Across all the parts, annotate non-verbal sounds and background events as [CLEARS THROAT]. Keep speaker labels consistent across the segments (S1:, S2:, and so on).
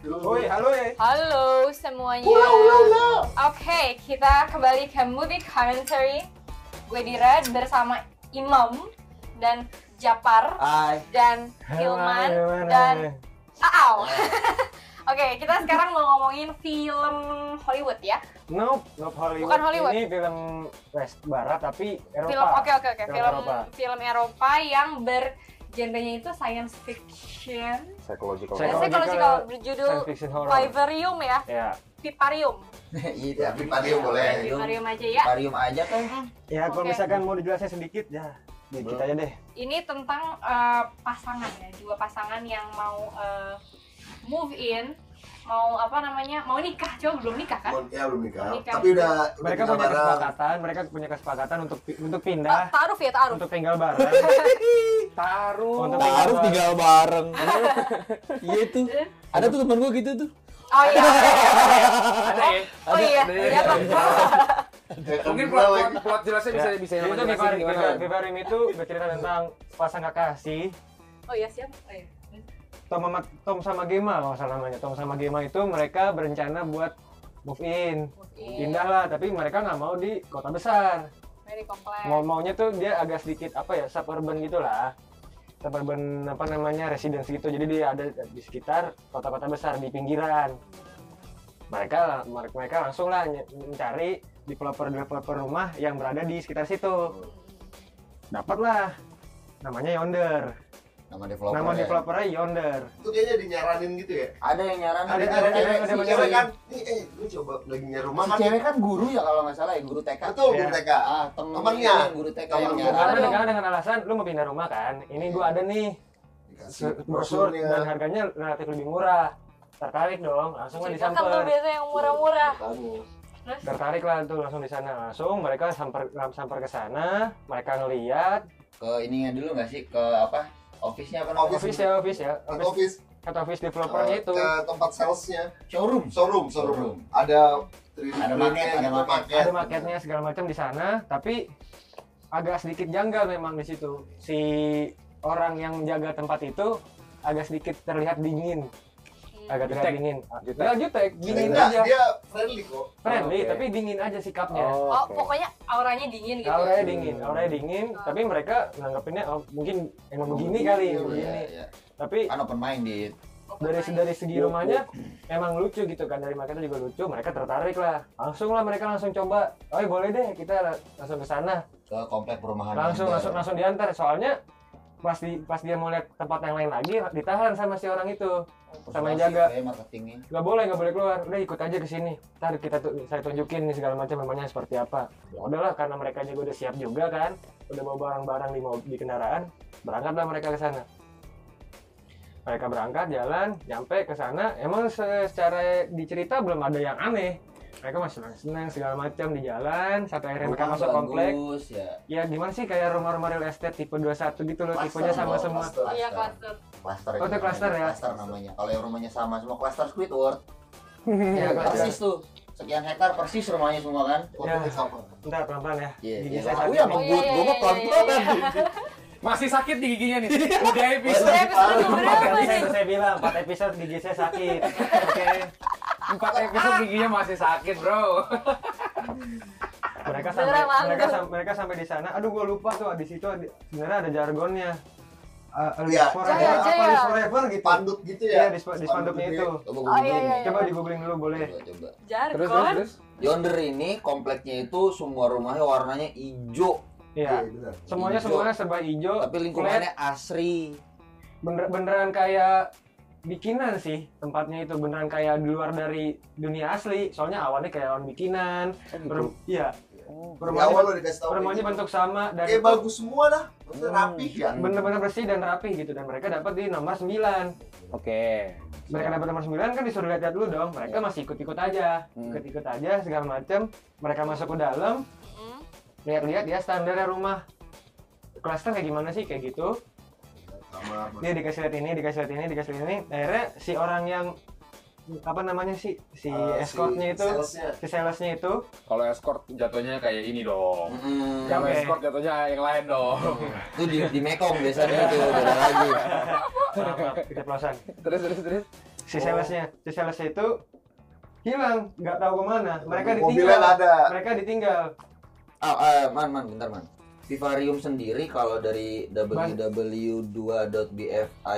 S1: Woi, halo ya.
S2: Halo semuanya. Oke, kita kembali ke movie commentary. Gue Dira bersama Imam dan Japar
S1: Hai.
S2: dan Hilman dan Aau. [LAUGHS] Oke, kita sekarang mau ngomongin film Hollywood ya.
S1: Nope, nope Hollywood.
S2: Bukan Hollywood.
S1: Ini film West Barat tapi Eropa.
S2: Film oke oke oke,
S1: Film
S2: film
S1: Eropa.
S2: film Eropa yang bergenrenya itu science fiction.
S1: Psychological.
S3: psychological
S2: Biasanya kalau sih kalau berjudul
S1: Science fiction horror.
S2: Vivarium ya,
S1: Ya,
S2: Viparium.
S4: Iya,
S5: Ya,
S4: tapi parium boleh.
S2: Viparium aja ya.
S4: Parium aja kan.
S1: ya kalau
S2: Oke.
S1: misalkan mau dijelasin sedikit ya, dikit
S4: Belum.
S1: aja deh.
S2: ini tentang eh, pasangan ya dua pasangan yang mau eh, move in mau apa namanya mau nikah coba belum nikah kan
S4: Mon- Ya belum nikah.
S2: Belum nikah.
S4: Tapi udah udah
S1: Mereka
S4: kenal
S1: punya
S4: bareng.
S1: kesepakatan, mereka punya kesepakatan untuk pi- untuk
S2: Ta-
S1: pindah,
S2: taaruf ya taaruf
S1: untuk tinggal
S2: [LAUGHS]
S1: bareng.
S3: taruh
S1: Untuk
S6: Taruh
S1: bareng.
S6: tinggal [LAUGHS] bareng. Iya tuh. Ada tuh temen gue gitu tuh.
S2: oh
S1: [LAUGHS]
S2: iya
S3: ada ya
S2: oh iya iya Pak.
S4: Eh,
S3: mungkin
S4: kenal
S3: plot
S4: lagi.
S3: plot, plot
S2: Oh,
S3: jelasnya bisa bisa
S1: Jadi itu
S3: jelasin
S1: Vivari,
S3: gimana.
S1: Vivari- Vivari itu bercerita tentang pasang kekasih
S2: oh iya siap oh, iya.
S1: Tom sama, Tom sama Gema kalau nggak salah namanya. Tom sama Gema itu mereka berencana buat move in,
S2: Move in
S1: pindah lah. Tapi mereka nggak mau di kota besar.
S2: very complex
S1: Mau maunya tuh dia agak sedikit apa ya suburban gitulah. Suburban apa namanya residence gitu. Jadi dia ada di sekitar kota-kota besar di pinggiran. Mereka lah- mer- mereka langsung lah ny- mencari developer developer rumah yang berada di sekitar situ. Dapatlah namanya Yonder.
S6: Nama developer.
S5: ya.
S1: Nama developernya Yonder.
S4: Itu dia jadi nyaranin gitu ya.
S5: ada yang nyaran
S1: Ada-
S5: gitu.
S1: ada- ada-
S5: Cewek-
S1: ada-
S5: si
S1: ada-
S5: cewek
S1: ada-
S5: kan
S4: Nih, eh, lu coba lagi nyari rumah
S5: si
S4: kan.
S5: cewek kan guru ya kalau nggak salah ya guru TK
S4: Betul,
S1: Iya.
S4: guru TK.
S5: ah temen
S4: Temennya.
S5: yang guru TK
S4: Temen
S5: yang
S4: guru.
S5: nyaran
S1: Karena
S2: Aduh.
S1: dengan, dengan alasan lu mau pindah rumah kan, ini gua ada nih
S4: Dikasih
S1: se- brosur dan
S4: brosurnya.
S1: harganya relatif lebih murah. Tertarik dong, langsung lah
S2: kan tuh
S1: disamper.
S2: biasa yang murah-murah
S5: Bagus.
S2: terus
S1: Tertarik lah tuh langsung di sana. Langsung mereka samper samper ke sana, mereka ngeliat
S5: ke ininya dulu nggak sih ke apa office-nya apa namanya?
S4: Office.
S1: office ya office ya,
S4: Ke
S1: office Oh, kan,
S4: office,
S1: head office
S4: ke,
S1: developernya itu.
S4: ke tempat salesnya.
S5: showroom
S4: Showroom,
S5: Showroom.
S4: showroom. Ada
S5: Ada market, ada market.
S1: Ada marketnya segala macam di sana, tapi agak sedikit janggal memang di situ. Si orang yang menjaga tempat itu agak sedikit terlihat dingin,
S2: hmm.
S1: agak terlihat
S3: Jutek.
S1: dingin.
S3: Jutek.
S1: Nggak jutek, dingin
S4: Enggak,
S1: aja.
S4: dia friendly kok.
S1: friendly
S3: Oke.
S1: tapi dingin aja sikapnya
S3: Oh,
S2: oh
S3: oke.
S2: pokoknya auranya dingin gitu
S1: auranya dingin auranya dingin
S2: Hmm.
S1: tapi mereka nanggapinnya oh, mungkin emang begini kali ya,
S4: Iya,
S1: begini
S5: Iya, iya.
S1: tapi
S5: kan open minded
S2: Open
S1: dari
S2: mind.
S1: dari segi rumahnya emang lucu gitu kan dari mereka juga lucu mereka tertarik lah langsung lah mereka langsung coba oh boleh deh kita la- langsung ke sana
S5: ke komplek perumahan
S1: langsung
S5: Anda.
S1: langsung langsung diantar soalnya pas di pas dia mau lihat tempat yang lain lagi ditahan sama si orang itu sama yang
S5: Persuasif
S1: jaga.
S5: ya, marketingnya
S1: nggak boleh nggak boleh keluar udah ikut aja ke sini ntar kita tu- saya tunjukin nih segala macam rumahnya seperti apa ya udahlah karena mereka juga udah siap juga kan udah bawa barang-barang di mobil di kendaraan berangkatlah mereka ke sana mereka berangkat jalan nyampe ke sana emang se- secara dicerita belum ada yang aneh mereka masih senang segala macam di jalan sampai akhirnya mereka
S5: Rumah
S1: masuk komplek
S5: bagus, ya
S1: ya gimana sih kayak rumah-rumah real estate tipe 21 gitu loh tipenya sama
S5: Cluster,
S1: semua
S5: cluster.
S2: iya cluster
S1: Oh,
S5: Cluster
S1: itu
S5: namanya.
S1: cluster ya?
S5: Cluster namanya. Kalau yang rumahnya sama semua cluster Squidward.
S1: [LAUGHS] Iya,
S5: ya,
S1: cluster. Iya.
S5: persis tuh. Sekian hektar persis rumahnya semua kan.
S4: Fotonya sama.
S1: Ya. ntar pelan-pelan ya
S5: Iya,
S1: Gigi
S5: iya.
S1: saya
S5: Aku
S1: sakit
S5: ya
S1: nih.
S5: mau
S2: Oh, iya, iya,
S5: gue gue mah
S2: iya,
S5: pelan-pelan.
S3: masih sakit di giginya nih udah episode
S2: Udah episode berapa
S1: Tadi
S2: nih
S1: kan saya bilang 4 episode gigi saya sakit. Oke.
S3: empat episode giginya masih sakit bro
S1: Mereka
S2: Beneran
S1: sampai
S2: langsung.
S1: mereka, sam- mereka sampai di sana. Aduh gua lupa tuh di situ ada- sebenarnya ada jargonnya. Eh, Alias
S4: Iya,
S1: forever,
S4: Jaya,
S1: apa
S2: Jaya.
S1: Alias forever gitu.
S4: Panduk gitu
S1: Iya,
S4: ya.
S1: di, spa- di spanduknya itu.
S2: Oh,
S5: Coba gue
S2: iya,
S5: googling.
S2: iya, iya.
S1: Coba di googling dulu boleh.
S5: Coba, coba.
S3: terus terus,
S2: jargon
S3: terus.
S5: Yonder ini kompleknya itu semua rumahnya warnanya hijau,
S1: Iya.
S4: Iya, benar.
S1: Semuanya
S5: Ijo.
S1: semuanya serba hijau.
S5: tapi lingkungannya asri.
S1: bener, beneran kayak bikinan sih tempatnya itu beneran kayak di luar dari dunia asli soalnya awalnya kayak orang bikinan Rum- iya
S4: Di
S1: rumahnya,
S4: awal lo dikasih tahu. gitu.
S1: rumahnya bentuk Oh. sama dan
S4: Kayak bagus semua lah. Maksudnya rapi ya.
S1: bener-bener bersih dan rapi gitu dan mereka dapat di nomor 9
S3: oke
S1: mereka dapat nomor 9 kan disuruh lihat-lihat dulu dong mereka masih ikut-ikut aja
S5: Hmm.
S1: ikut-ikut aja segala macam mereka masuk ke dalam
S2: Mm.
S1: lihat-lihat ya standarnya rumah klaster kayak gimana sih kayak gitu
S4: Kamar,
S1: dia dikasih lihat ini dikasih lihat ini dikasih lihat ini akhirnya si orang yang apa namanya sih si
S4: eh,
S1: escortnya
S4: si
S1: itu
S4: salesnya.
S1: si salesnya itu
S3: kalau escort jatuhnya kayak ini dong
S5: Hmm,
S3: kalau
S1: Oke.
S3: escort jatuhnya yang lain dong
S5: itu
S1: [LAUGHS]
S5: di, di Mekong biasanya itu beda lagi.
S1: maaf maaf keceplosan
S3: [LAUGHS] terus terus terus
S1: si salesnya si salesnya itu hilang nggak tahu kemana mereka
S4: mobilnya
S1: ditinggal
S4: nggak ada
S1: mereka ditinggal
S5: Ah, eh, man, man, bentar man. Vivarium sendiri kalau dari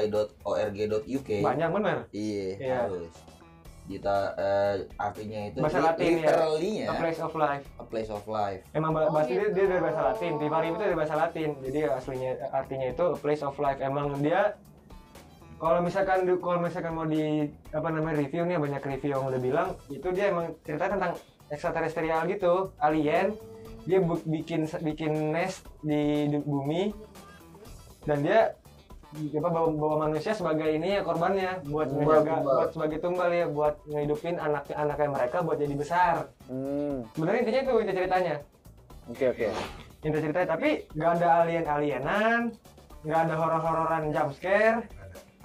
S5: www.2.bfi.org.uk
S1: banyak bener
S5: Iya,
S1: Iya.
S5: harus. Kita eh, artinya itu
S1: Bahasa
S5: li-
S1: Latin, ya?
S5: literally-nya
S1: a place of life
S5: a place of life.
S1: emang bah-
S2: Iya. Oh,
S1: bahasa dia, dia dari bahasa
S2: gitu.
S1: Latin vivarium itu dari bahasa Latin jadi aslinya artinya itu a place of life emang dia kalau misalkan di- kalau misalkan mau di apa namanya review nih banyak review yang udah bilang itu dia emang cerita tentang ekstraterestrial gitu alien dia bu- bikin bikin nest di, di bumi dan dia apa bawa, bawa manusia sebagai ini ya korbannya buat
S4: Tumbal,
S1: menjaga
S4: tumbal.
S1: buat sebagai tumbal ya buat ngehidupin anak anaknya mereka buat jadi besar
S6: Hmm,
S1: sebenarnya intinya itu inti ceritanya
S6: oke oke.
S1: inti ceritanya tapi nggak ada alien alienan nggak ada horor hororan jump scare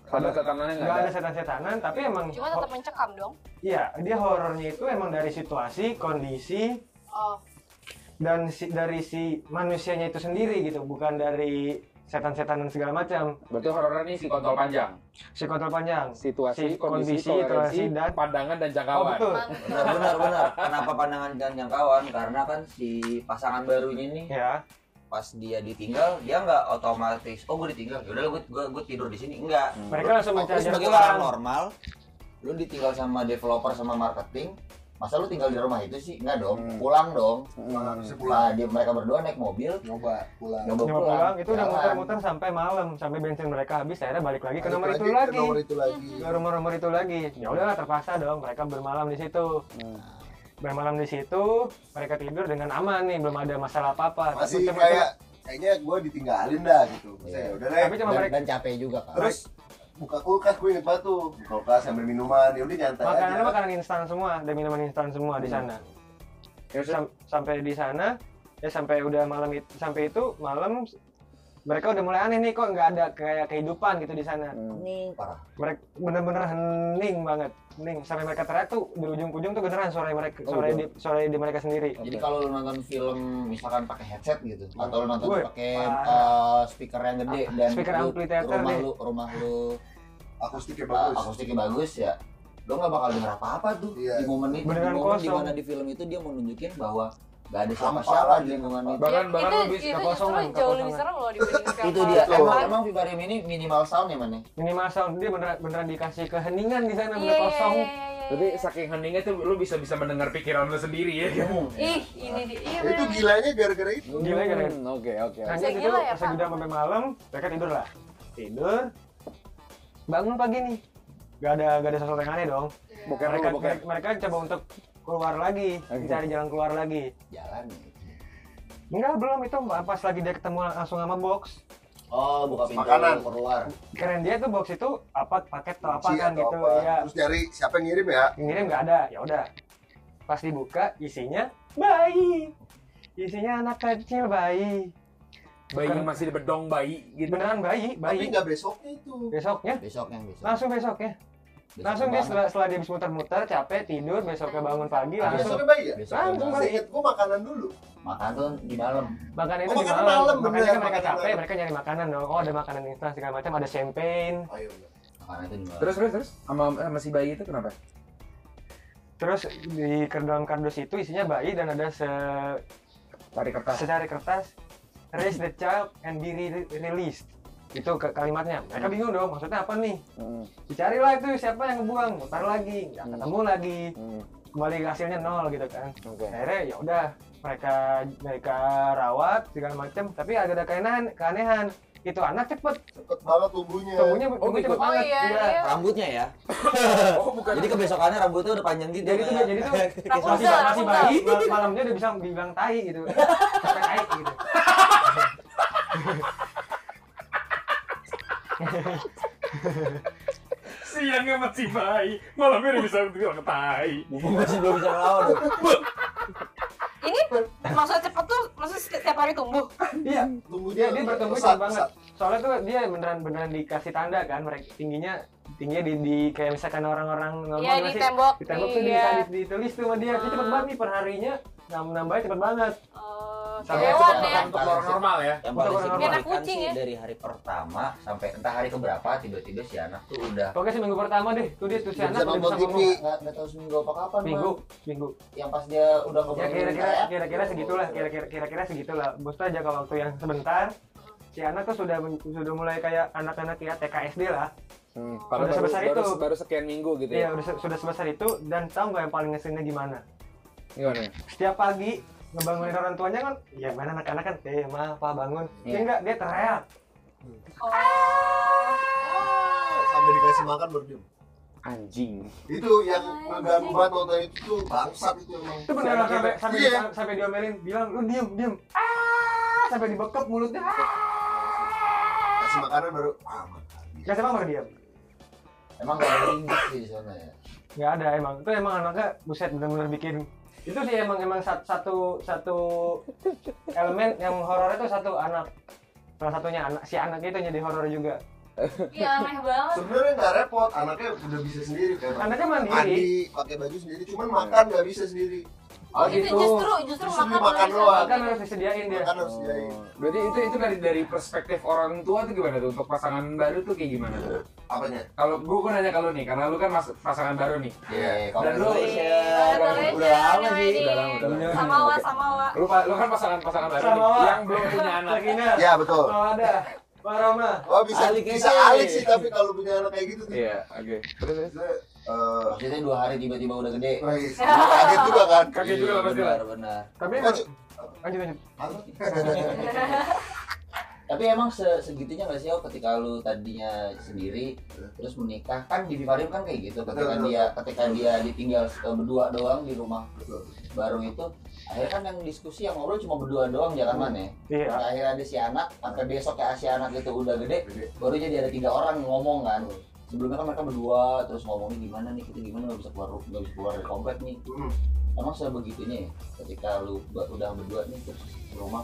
S3: Pada tetanannya nggak
S1: nggak ada
S3: ada.
S1: setan setanan tapi emang
S2: Cuma tetap mencekam dong.
S1: iya dia horornya itu emang dari situasi kondisi
S2: Oh,
S1: dan si, dari si manusianya itu sendiri gitu bukan dari setan-setan dan segala macam
S3: Berarti horornya nih si kontol panjang.
S1: si kontrol panjang
S6: Situasi,
S1: Si-
S6: kondisi,
S1: kondisi,
S6: toleransi,
S1: toleransi, dan-
S3: Pandangan dan
S1: oh
S3: jangkauan.
S1: betul
S2: mantap.
S5: Benar, benar, benar. Kenapa pandangan dan jangkauan? Karena kan si pasangan barunya ini
S1: ya
S5: pas dia ditinggal dia nggak otomatis oh gue ditinggal yaudah gue gue gue tidur di sini enggak
S1: mereka langsung
S5: Lu- lu
S1: mencari
S5: sebagai
S1: jalan.
S5: orang normal lu ditinggal sama developer sama marketing masa lu tinggal di rumah itu sih enggak dong
S6: Hmm.
S5: pulang dong
S6: Hmm.
S5: sepulang dia mereka berdua naik mobil
S4: nyoba pulang
S5: nyoba
S1: Nyoba
S5: pulang,
S1: pulang itu udah
S5: Jalan.
S1: muter-muter sampai malam sampai bensin mereka habis akhirnya balik lagi ke
S4: Balik
S1: nomor itu
S4: ke
S1: lagi
S4: nomor itu lagi
S1: ke rumah-rumah itu lagi ya udahlah terpaksa dong mereka bermalam di situ
S6: Hmm.
S1: bermalam di situ mereka tidur dengan aman nih belum ada masalah apa apa
S4: masih kayak kayaknya gue ditinggalin dah gitu Maksudnya,
S5: Iya.
S4: ya udah deh
S1: tapi cuma
S6: Dan,
S1: mereka
S6: dan capek juga kan.
S4: terus buka kulkas gue inget banget tuh buka kulkas sambil minuman ya udah nyantai
S1: makanan
S4: aja
S1: makanan instan semua dan minuman instan semua
S6: Hmm.
S1: di sana
S6: Ya
S3: Terus
S1: Sam- sampai di sana ya sampai udah malam itu sampai itu malam mereka udah mulai aneh nih kok nggak ada kayak kehidupan gitu di sana
S6: Hmm.
S5: Nih, parah
S1: mereka bener-bener hening banget hening sampai mereka teriak tuh di ujung-ujung tuh beneran suara mereka
S6: Oh,
S1: suara
S6: gitu.
S1: di suara di mereka sendiri
S5: jadi kalau lu nonton film misalkan pakai headset gitu atau lu nonton
S1: Woi,
S5: pakai
S1: parah.
S5: eh, speaker yang gede dan
S1: Speaker
S5: lu-
S1: amplitheater
S5: rumah
S1: deh.
S5: lu rumah lu
S4: akustiknya
S5: uh,
S4: bagus
S5: akustiknya bagus ya lo nggak bakal denger apa-apa tuh
S4: Iya.
S5: di momen itu
S1: Beneran
S5: di momen
S1: kosong.
S5: dimana di film itu dia mau nunjukin bahwa nggak ada
S4: Hampa
S5: siapa-siapa
S4: lagi.
S5: di momen itu
S3: bahkan
S2: Ya,
S3: bahkan
S2: itu,
S3: lebih
S2: itu justru
S1: kekosongan,
S2: jauh lebih
S1: kekosongan.
S2: serem loh dibanding film
S5: itu dia
S4: Betul.
S5: emang emang Vivarium ini minimal sound ya mana
S1: minimal sound dia beneran, beneran dikasih keheningan di sana
S2: Iya,
S1: bener
S2: iya,
S1: kosong Nah,
S2: iya, iya, iya.
S3: Tapi saking heningnya tuh lu bisa bisa mendengar pikiran lu sendiri ya.
S2: Ih, ini dia. Iya,
S4: Ya itu
S2: bener.
S4: gilanya gara-gara itu
S1: Gila, gila.
S6: Hmm, Oke oke. oke.
S1: Hanya
S2: Bisa
S1: gitu
S2: gila ya,
S1: pas
S2: Pak?
S1: udah sampai malam mereka tidur lah tidur bangun pagi nih gak ada gak ada sesuatu yang aneh dong
S5: Oh,
S6: Boker
S1: mereka
S6: dulu boker.
S1: mereka- mereka coba untuk keluar lagi
S6: Oke.
S1: cari jalan keluar lagi
S5: jalan ya
S1: enggak belum itu pas lagi dia ketemu langsung sama box
S5: oh buka pintu
S4: Makanan.
S5: lu keluar
S1: keren dia tuh box itu apa paket atau apa
S4: Kunci
S1: kan
S4: atau
S1: gitu
S4: apa.
S1: ya
S4: terus nyari siapa yang ngirim ya
S1: ngirim nggak ada ya udah pas dibuka isinya bayi isinya anak kecil bayi
S3: Bayi
S1: Bukan-
S3: masih di bedong bayi gitu.
S1: beneran bayi
S4: tapi
S1: bayi Iya,
S4: nggak besoknya itu
S1: besoknya
S5: besok yang besok
S1: ya? langsung besoknya
S5: Besok
S1: langsung dia
S5: banget.
S1: setelah, setelah dia habis muter-muter capek tidur besoknya bangun pagi
S5: Ah,
S1: langsung
S4: besoknya bayi ya
S5: besok
S1: Langsung.
S5: banget.
S4: seinget gue makanan dulu
S5: makan tuh di malam
S1: makanan itu
S4: Oh,
S1: di
S4: makanan
S1: malam,
S4: malam,
S1: makanya
S4: bener,
S1: kan mereka
S4: makanan
S1: capek
S4: malam.
S1: mereka nyari makanan dong oh ada makanan instan segala macam ada champagne
S4: ayo
S5: makanan itu di malam
S3: Terus terus terus sama sama si bayi itu kenapa?
S1: terus di dalam kardus itu isinya bayi dan ada se
S3: Tarik kertas.
S1: secari kertas raise the child and be re- released itu ke- kalimatnya mereka bingung dong maksudnya apa nih
S6: Hmm,
S1: dicarilah itu siapa yang ngebuang mutar lagi nggak
S6: Hmm.
S1: ketemu lagi
S6: hmm,
S1: kembali ke hasilnya nol gitu kan
S6: Oke.
S1: akhirnya ya udah mereka mereka rawat segala macam tapi agak ada keanehan keanehan itu anak cepet
S4: cepet banget tumbuhnya
S1: tumbuhnya
S3: Oh,
S1: tumbuhnya
S3: gitu.
S1: cepet
S2: Oh
S1: banget
S2: iya,
S1: Iya.
S2: iya.
S5: rambutnya ya
S3: Oh bukan.
S5: jadi kebesokannya rambutnya udah panjang gitu
S6: ya?
S1: jadi tuh
S5: kayak-
S1: jadi tuh masih,
S2: Rapunzel,
S1: masih
S2: Rapunzel.
S1: bayi mal- malamnya udah bisa bilang tai gitu sampai tai gitu
S3: siangnya masih bayi, malamnya udah bisa bilang tai.
S5: Gua masih belum bisa ngelawan tuh.
S2: Ini maksudnya cepet tuh, maksudnya seti- setiap hari tumbuh.
S1: iya
S4: tumbuhnya
S1: dia dia bertumbuh
S4: pesat,
S1: cepet banget
S4: pesat.
S1: soalnya tuh dia beneran beneran dikasih tanda kan mereka tingginya tingginya di, di kayak misalkan orang-orang normal
S2: Iya, di
S1: gimana sih?
S2: tembok.
S1: di tembok tuh
S2: Iya. Hmm.
S1: bisa ditulis tuh sama dia dia cepet banget nih perharinya nambah nambahnya cepet banget
S2: Oh, Oke,
S3: Sama
S5: Hewan,
S2: hewan
S5: ya.
S2: ya.
S3: Untuk orang normal ya.
S6: yang
S1: Untuk orang
S6: paling
S1: normal.
S6: signifikan
S2: Anak kucing
S6: sih
S2: ya?
S6: dari hari per
S5: pertama sampai entah hari keberapa tiba-tiba si anak tuh udah
S1: Pokoknya seminggu pertama deh, tuh dia tuh si
S4: Nggak
S1: anak
S4: bisa nonton
S1: udah bisa
S4: TV.
S1: ngomong.
S5: nggak nggak tahu seminggu apa kapan
S1: Minggu,
S5: Bang.
S1: minggu.
S5: yang pas dia udah nggak
S1: Ya
S5: boleh
S1: kira-kira
S5: minum air.
S1: kira-kira segitulah, kira-kira kira-kira segitulah. Bosnya jangka waktu yang sebentar. Si anak tuh sudah men- sudah mulai kayak anak-anak ya TKSD lah.
S3: Hmm,
S1: baru- Udah sebesar baru- itu. baru-
S3: sekian minggu gitu
S1: Iya, udah se- sudah sebesar itu dan tahu nggak yang paling ngeselinnya gimana?
S3: Gimana?
S1: Setiap pagi ngebangunin orang tuanya kan, ya mana anak-anak kan, eh ma, pa bangun. Dia
S3: Iya.
S1: enggak, dia teriak.
S2: Oh.
S4: sampai dikasih makan baru diem.
S3: Anjing.
S4: Itu yang ngeganggu banget nonton itu tuh bangsat itu emang.
S1: Itu beneran
S3: Si anak
S1: sampai
S3: itu.
S1: sampai
S4: Iya.
S1: sampai, sampai diomelin, bilang lu diem diem. Ah, sampai dibekep mulutnya. Ah.
S4: Kasih makanan baru ah makan.
S1: Gak sama dia.
S5: emang nggak ada ringgit sih di sana ya
S1: Gak ada emang. Itu emang anaknya buset bener-bener bikin itu sih emang emang sat- satu satu elemen yang horor itu satu anak salah satunya anak si anak itu jadi horor juga
S2: Iya, aneh banget.
S4: Sebenarnya nggak repot, anaknya udah bisa sendiri kan.
S1: anaknya mandiri
S4: Mandi, pakai baju sendiri, cuman makan nggak bisa sendiri.
S1: oh
S2: Itu
S1: gitu
S2: justru justru
S4: Justru
S2: makan,
S4: makan
S2: doang.
S4: doang.
S1: makan harus disediain dia
S4: Makan harus diain.
S3: Berarti itu itu dari dari perspektif orang tua tuh gimana tuh untuk pasangan baru tuh kayak gimana tuh?
S4: Apanya?
S3: Kalau gua gua nanya kalau nih, karena lu kan mas, pasangan baru nih.
S5: Iya, kalau
S3: Dan lu-
S5: misalnya-
S2: Congratulations,
S3: Udah lama sih,
S2: Yudi.
S3: udah lama, udah lama.
S2: Sama wa, sama wa.
S3: Lu, pa- lu kan pasangan pasangan baru
S1: Sama
S3: nih,
S1: Wak.
S3: yang belum punya anak.
S1: [LAUGHS] lakinya
S4: Ya betul.
S1: mau ada Pak Roma
S4: Oh bisa
S6: Alik
S4: bisa
S6: aja.
S4: alik sih tapi kalau punya anak kayak gitu tuh.
S3: Iya, oke. Terus terus.
S4: Maksudnya, eh,
S5: maksudnya dua hari tiba-tiba udah gede
S4: wah, iya, kaget juga kan.
S3: Kaget juga
S5: Iya,
S3: lah pasti lah.
S5: benar-benar
S1: tapi
S4: Lanjut.
S1: lanjut lanjut
S5: [LAUGHS] tapi emang se- segitunya nggak sih oh ketika lu tadinya sendiri terus menikah kan di Vivarium kan kayak gitu ketika
S4: Betul, betul.
S5: dia ketika dia ditinggal eh, berdua doang di rumah
S4: Betul.
S5: baru itu akhirnya kan yang diskusi yang ngobrol cuma berdua doang jalan mana ya
S1: iya
S5: Ketika akhirnya ada si anak sampai besok ya si anak itu udah gede
S4: Gede.
S5: baru jadi ada tiga orang ngomong kan sebelumnya kan mereka berdua terus ngomongin gimana nih kita gimana nggak bisa keluar nggak bisa keluar dari komplek nih
S4: Hmm.
S5: emang sebegitunya ya ketika lu ba- udah berdua nih terus ke rumah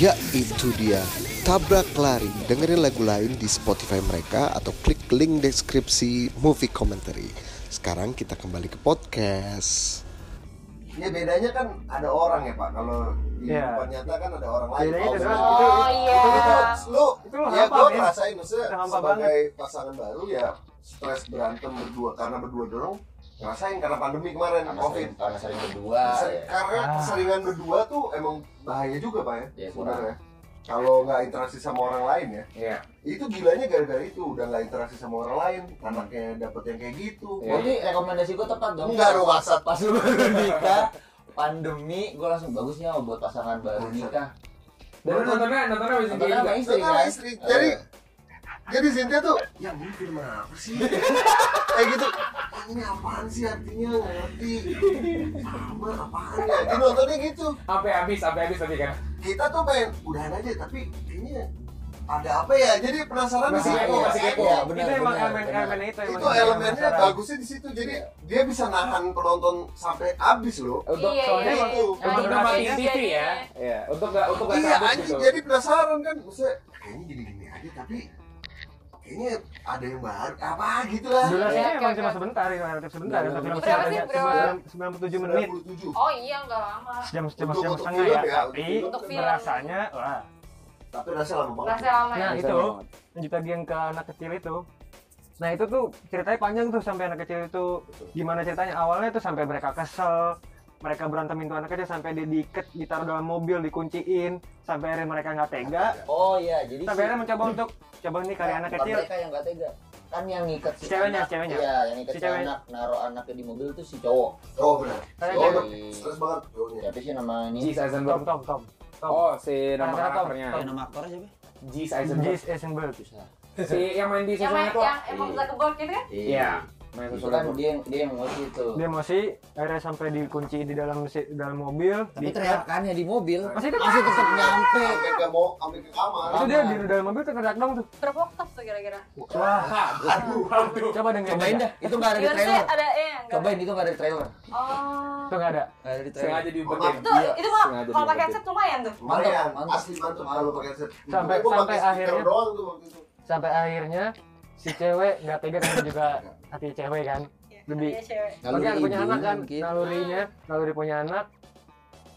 S7: Ya itu dia Tabrak Lari Dengerin lagu lain di Spotify mereka Atau klik link deskripsi movie commentary Sekarang kita kembali ke podcast
S4: Ya bedanya kan ada orang ya Pak. Kalau di
S1: Iya.
S4: tempat nyata kan ada orang lain.
S1: bedanya
S4: Oh,
S1: adalah
S4: benar.
S1: itu
S2: Oh iya.
S4: Itu- lu
S1: Itu lu
S4: ya
S1: hampa,
S4: gua
S1: men.
S4: ngerasain maksudnya
S1: Itu hampa
S4: sebagai pasangan baru ya stres berantem berdua karena berdua dorong ngerasain karena pandemi kemarin
S5: karena
S4: covid
S5: sering, karena sering berdua
S4: Se-
S5: ya.
S4: karena
S1: Ah.
S4: keseringan berdua tuh emang bahaya juga pak ya
S5: Iya,
S4: sebenarnya kalau nggak interaksi sama orang lain ya
S3: Iya.
S4: itu gilanya gara-gara itu udah nggak interaksi sama orang lain anaknya dapet yang kayak gitu
S3: Iya.
S5: berarti rekomendasi gue tepat dong
S4: enggak dong WhatsApp
S5: pas lu baru nikah pandemi gue langsung bagusnya buat pasangan baru nikah
S3: Dan lu nontonnya nontonnya masih
S5: Nontonnya
S3: juga.
S5: sama
S4: Itu
S5: istri kan
S4: kan istri jadi jadi Sintia tuh ya ini film apa sih [LAUGHS] kayak gitu "Ah, ini apaan sih artinya nggak ngerti sama apaan ya Dia nontonnya gitu
S3: Sampai habis, sampai habis tadi
S2: Iya,
S3: kan.
S4: kita tuh pengen udahan aja tapi kayaknya ada apa ya jadi penasaran
S3: Masih
S4: sih
S3: kepo,
S4: Iya,
S3: masih kepo.
S4: iya.
S5: benar,
S1: itu emang
S5: benar,
S1: elemen
S5: benar.
S1: elemen itu emang
S4: itu elemennya bagusnya di situ jadi dia bisa nahan penonton sampai habis loh
S3: Untuk
S2: Iya,
S3: soalnya
S2: iya,
S4: iya.
S3: untuk
S1: Iya,
S3: namatin
S2: iya,
S3: TV
S2: iya.
S3: ya. Iya, untuk nggak untuk nggak
S4: Iya
S3: cabut
S4: anjing
S3: gitu.
S4: jadi penasaran kan Maksudnya kayaknya gini-gini aja tapi Kayaknya ada yang baru apa gitu lah
S1: durasinya
S3: Iya,
S2: Oke,
S1: emang
S2: oke,
S1: cuma
S2: oke.
S1: sebentar ya relatif sebentar
S3: Berapa
S1: untuk film
S2: sih,
S1: sejam
S2: berapa?
S1: sembilan puluh tujuh menit
S4: 97
S2: Oh iya, enggak lama.
S1: sejam sejam
S4: Untuk-
S1: sejam
S4: untuk
S1: setengah
S4: film
S1: ya
S4: ya,
S1: tapi
S2: untuk film.
S1: rasanya wah
S4: Tapi rasa lama banget
S2: Rasa lama ya.
S1: nah itu lanjut lagi yang ke anak kecil itu nah itu tuh ceritanya panjang tuh sampai anak kecil itu gimana ceritanya awalnya tuh sampai mereka kesel mereka berantemin tuh anak kecil sampai dia diikat ditaruh dalam mobil dikunciin sampai akhirnya mereka nggak tega
S5: oh iya jadi
S1: sampai akhirnya mencoba untuk coba nih kali anak
S5: Bukan
S1: kecil
S5: mereka yang nggak tega kan yang ngikat si
S1: Si ceweknya,
S5: anak,
S1: ceweknya.
S5: iya yang ngikat
S1: Si
S5: si,
S1: cewek.
S5: anak naruh anaknya di mobil tuh si cowok
S4: Oh benar
S1: Saya
S4: Oh,
S1: cewek.
S5: Si-
S4: Stres banget cowoknya
S5: siapa sih nama ini
S3: Jis
S1: Tom
S3: Eisenberg.
S1: Tom Tom
S3: Oh, si nama
S1: Tom, Tom,
S3: karakternya.
S6: Ya, nama aktornya siapa?
S3: Jis Eisenberg.
S1: Jis Eisenberg
S3: Si yang main di
S2: Yang
S3: Social
S2: main
S3: Network.
S2: yang emang udah kebor gitu kan?
S3: Iya. Main
S5: itu
S3: Social
S5: kan
S3: Network.
S5: dia yang dia yang emosi itu
S1: dia emosi akhirnya sampai dikunci di dalam si- dalam mobil
S6: Tapi
S1: di-
S5: kan ya
S6: teriakannya di mobil
S1: masih itu
S6: Masih tetap nyampe
S4: Sampai ke mau sampai ke kamar
S1: itu dia di dalam mobil terkedak dong tuh
S2: Berapa oktav tuh kira-kira?
S1: wah
S3: Aduh, aduh.
S1: coba dengerin
S6: Cobain
S1: aja.
S6: dah, itu nggak
S1: Iya,
S6: ada di
S2: Beyonce
S6: trailer
S2: ada eh enggak.
S5: cobain itu nggak ada trailer
S2: Oh.
S1: itu nggak ada
S6: Nggak ada di trailer
S3: Sengaja diumpetin.
S2: Itu
S1: Iya,
S2: itu mah
S3: sengaja
S2: kalau pakai
S3: dibuatin.
S2: headset lumayan tuh.
S4: Makanya
S5: Mantap, mantap.
S4: Ah, asli mantap kalau pakai headset
S1: Sampai-
S4: Gua pakai
S1: sampai
S4: speaker
S1: akhirnya-
S4: doang tuh waktu itu
S1: sampai akhirnya si cewek nggak tega kan juga hati cewek kan
S2: Iya,
S1: Lebih.
S2: namanya cewek.
S1: Tapi kan punya anak kan,
S6: mungkin.
S1: nalurinya, naluri punya anak.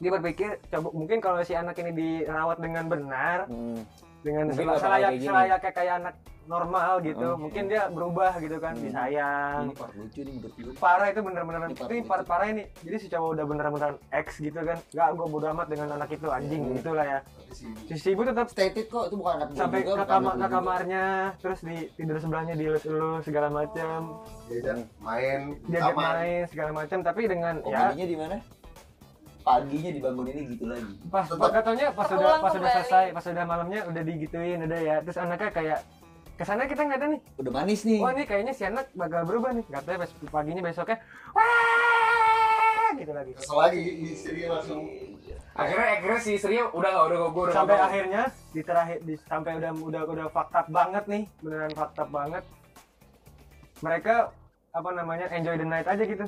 S1: Dia berpikir, coba mungkin kalau si anak ini dirawat dengan benar,
S6: Hmm.
S1: dengan
S6: Mungkin
S1: sela-
S6: bakal
S1: selayak
S6: kayak gini.
S1: selayaknya kayak anak normal gitu,
S6: Hmm.
S1: mungkin dia berubah gitu kan,
S6: Hmm.
S1: disayang.
S6: Ini part lucu nih menurut gue.
S1: Parah itu bener-bener,
S5: Ini
S1: itu
S5: parah
S1: parah parah ini. Jadi si cowok udah bener-beneran ex gitu kan, nggak gue bodo amat dengan anak itu anjing
S6: Hmm.
S1: gitu lah ya.
S4: Tapi sih,
S1: Si si ibu tetap
S5: Stated kok itu bukan anak gua
S1: sampai
S5: juga,
S1: ke,
S5: bukan
S1: kamar,
S5: anak
S1: ke
S5: gua juga.
S1: kamarnya, terus di tidur sebelahnya dielus-elus segala macam,
S4: diajak ya main di
S1: diajak
S4: taman.
S1: main segala macam. Tapi dengan ya
S6: Komedinya di mana?
S5: Paginya dibanguninnya gitu lagi.
S1: pas
S4: Tetap.
S1: pas katanya pas
S2: Terulang
S1: sudah pas sudah
S2: kembali.
S1: selesai pas sudah malamnya udah digituin udah ya terus anaknya kayak kesana kita nggak ada nih
S6: Udah manis nih.
S1: wah nih kayaknya si anak bakal berubah nih katanya pas paginya besoknya wah gitu lagi
S4: Kesel lagi, istri langsung
S3: Akhirnya akhirnya si istrinya udah nggak udah gue udah
S1: sampai
S3: nggak mau.
S1: akhirnya di terakhir di- sampai udah udah udah fakta banget nih beneran fakta banget mereka apa namanya enjoy the night aja gitu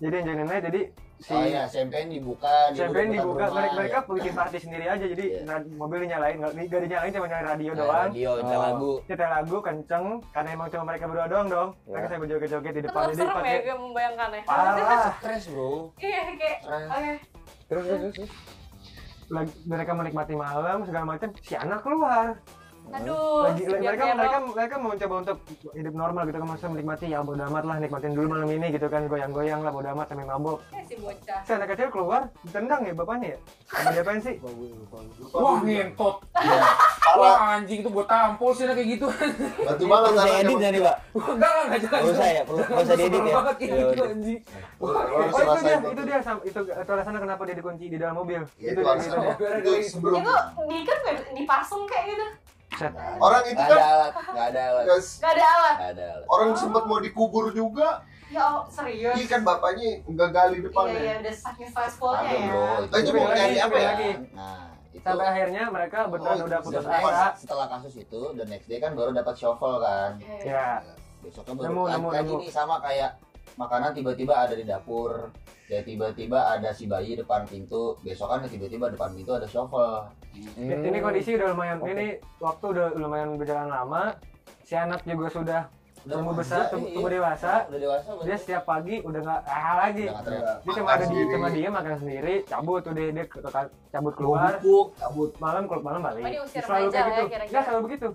S1: jadi enjoy the night jadi si
S5: Oh iya, champagne dibuka,
S1: champagne dibuka
S5: rumah,
S1: mereka mereka
S5: ya.
S1: bikin party sendiri aja jadi
S5: Iya.
S1: na- mobil dinyalain nggak nggak dinyalain cuma nyalain radio
S5: Nah,
S1: doang
S5: radio,
S6: Ada
S5: oh.
S6: lagu.
S1: nyetel lagu kenceng karena emang cuma mereka berdua doang dong
S5: Iya.
S1: mereka
S6: Ya.
S1: sambil joget-joget di depan
S2: Tetap
S1: jadi
S2: serem ya
S1: pakai
S2: gue membayangkan ya.
S1: parah
S6: Stres bro.
S2: Iya kayak
S5: Stres.
S2: oke.
S6: Terus terus terus, terus.
S1: Lag- mereka menikmati malam segala macam si anak keluar
S2: Aduh,
S1: lagi
S2: Oh,
S1: mereka
S2: si
S1: mereka
S2: Bianca
S1: mereka,
S2: Erok.
S1: mau coba untuk hidup normal gitu kan maksudnya menikmati ya bodo amat lah nikmatin dulu malam ini gitu kan goyang-goyang lah bodo amat sambil mabok
S2: Eh, si bocah.
S1: si anak kecil keluar ditendang ya bapaknya ya Apa diapain sih
S3: Wah iya. ngentot. Wah anjing itu gue tampol sih lah kayak gitu. [LAUGHS]
S4: batu
S6: Perlu
S4: malam tangannya,
S6: saya edit nggak nih pak?
S3: Enggak lah enggak jelas.
S6: Perlu saya, perlu perlu saya diedit ya.
S3: Banget kayak
S6: Ya
S3: gitu
S6: udah.
S3: anjing.
S4: Bang. Lu harus
S1: oh itu dia
S4: selesain
S1: itu dia sam- itu, itu alasannya kenapa dia dikunci di dalam mobil
S4: Ya, itu
S1: itu dia
S4: harus
S1: itu dia.
S4: itu sebelum
S2: Itu di kan nggak dipasung kayak gitu.
S1: Set.
S4: orang itu
S5: Nggak
S4: kan
S5: ada alat, nggak ada alat,
S4: guys,
S2: Gak ada alat.
S5: nggak ada alat.
S4: orang sempat mau dikubur juga
S2: Ya oh, serius.
S4: ini kan bapaknya nggak gali
S2: Iya iya
S4: depannya
S2: udah saking stressfulnya ya.
S5: Oh,
S4: Eh, itu mau
S1: Beda
S4: nyari
S1: lagi,
S4: apa
S1: beda
S4: ya
S1: lagi.
S5: Nah, itu
S1: sampai akhirnya mereka beneran
S4: Oh,
S1: udah
S4: itu
S1: putus
S5: Setelah-
S1: asa
S5: setelah kasus itu, the next day kan baru dapat shovel kan.
S2: Iya, iya.
S1: ya
S5: besoknya
S1: Nemu,
S5: baru
S1: nemu,
S5: nemu, lagi
S1: nemu.
S5: nih sama kayak makanan tiba-tiba ada di dapur ya tiba-tiba ada si bayi depan pintu besokan tiba-tiba depan pintu ada shovel
S1: Ya,
S3: Hmm.
S1: Ini ini kondisi udah lumayan,
S6: Oke.
S1: ini waktu udah lumayan berjalan lama. Si anak juga sudah tumbuh besar, tum- tumbuh dewasa.
S5: udah dewasa baru.
S1: Dia setiap pagi udah nggak ah lagi.
S5: Udah nggak teriak.
S1: Dia cuma
S4: Makan
S1: ada di
S4: sendiri.
S1: cuma dia makan sendiri, cabut tuh dia, dia ke- ke- cabut
S4: mau
S1: keluar,
S4: buku cabut
S1: malam keluar malam balik.
S2: Oh, dia usia
S1: selalu kayak
S2: remaja lah ya,
S1: gitu.
S2: kira-kira.
S1: Nggak, selalu begitu.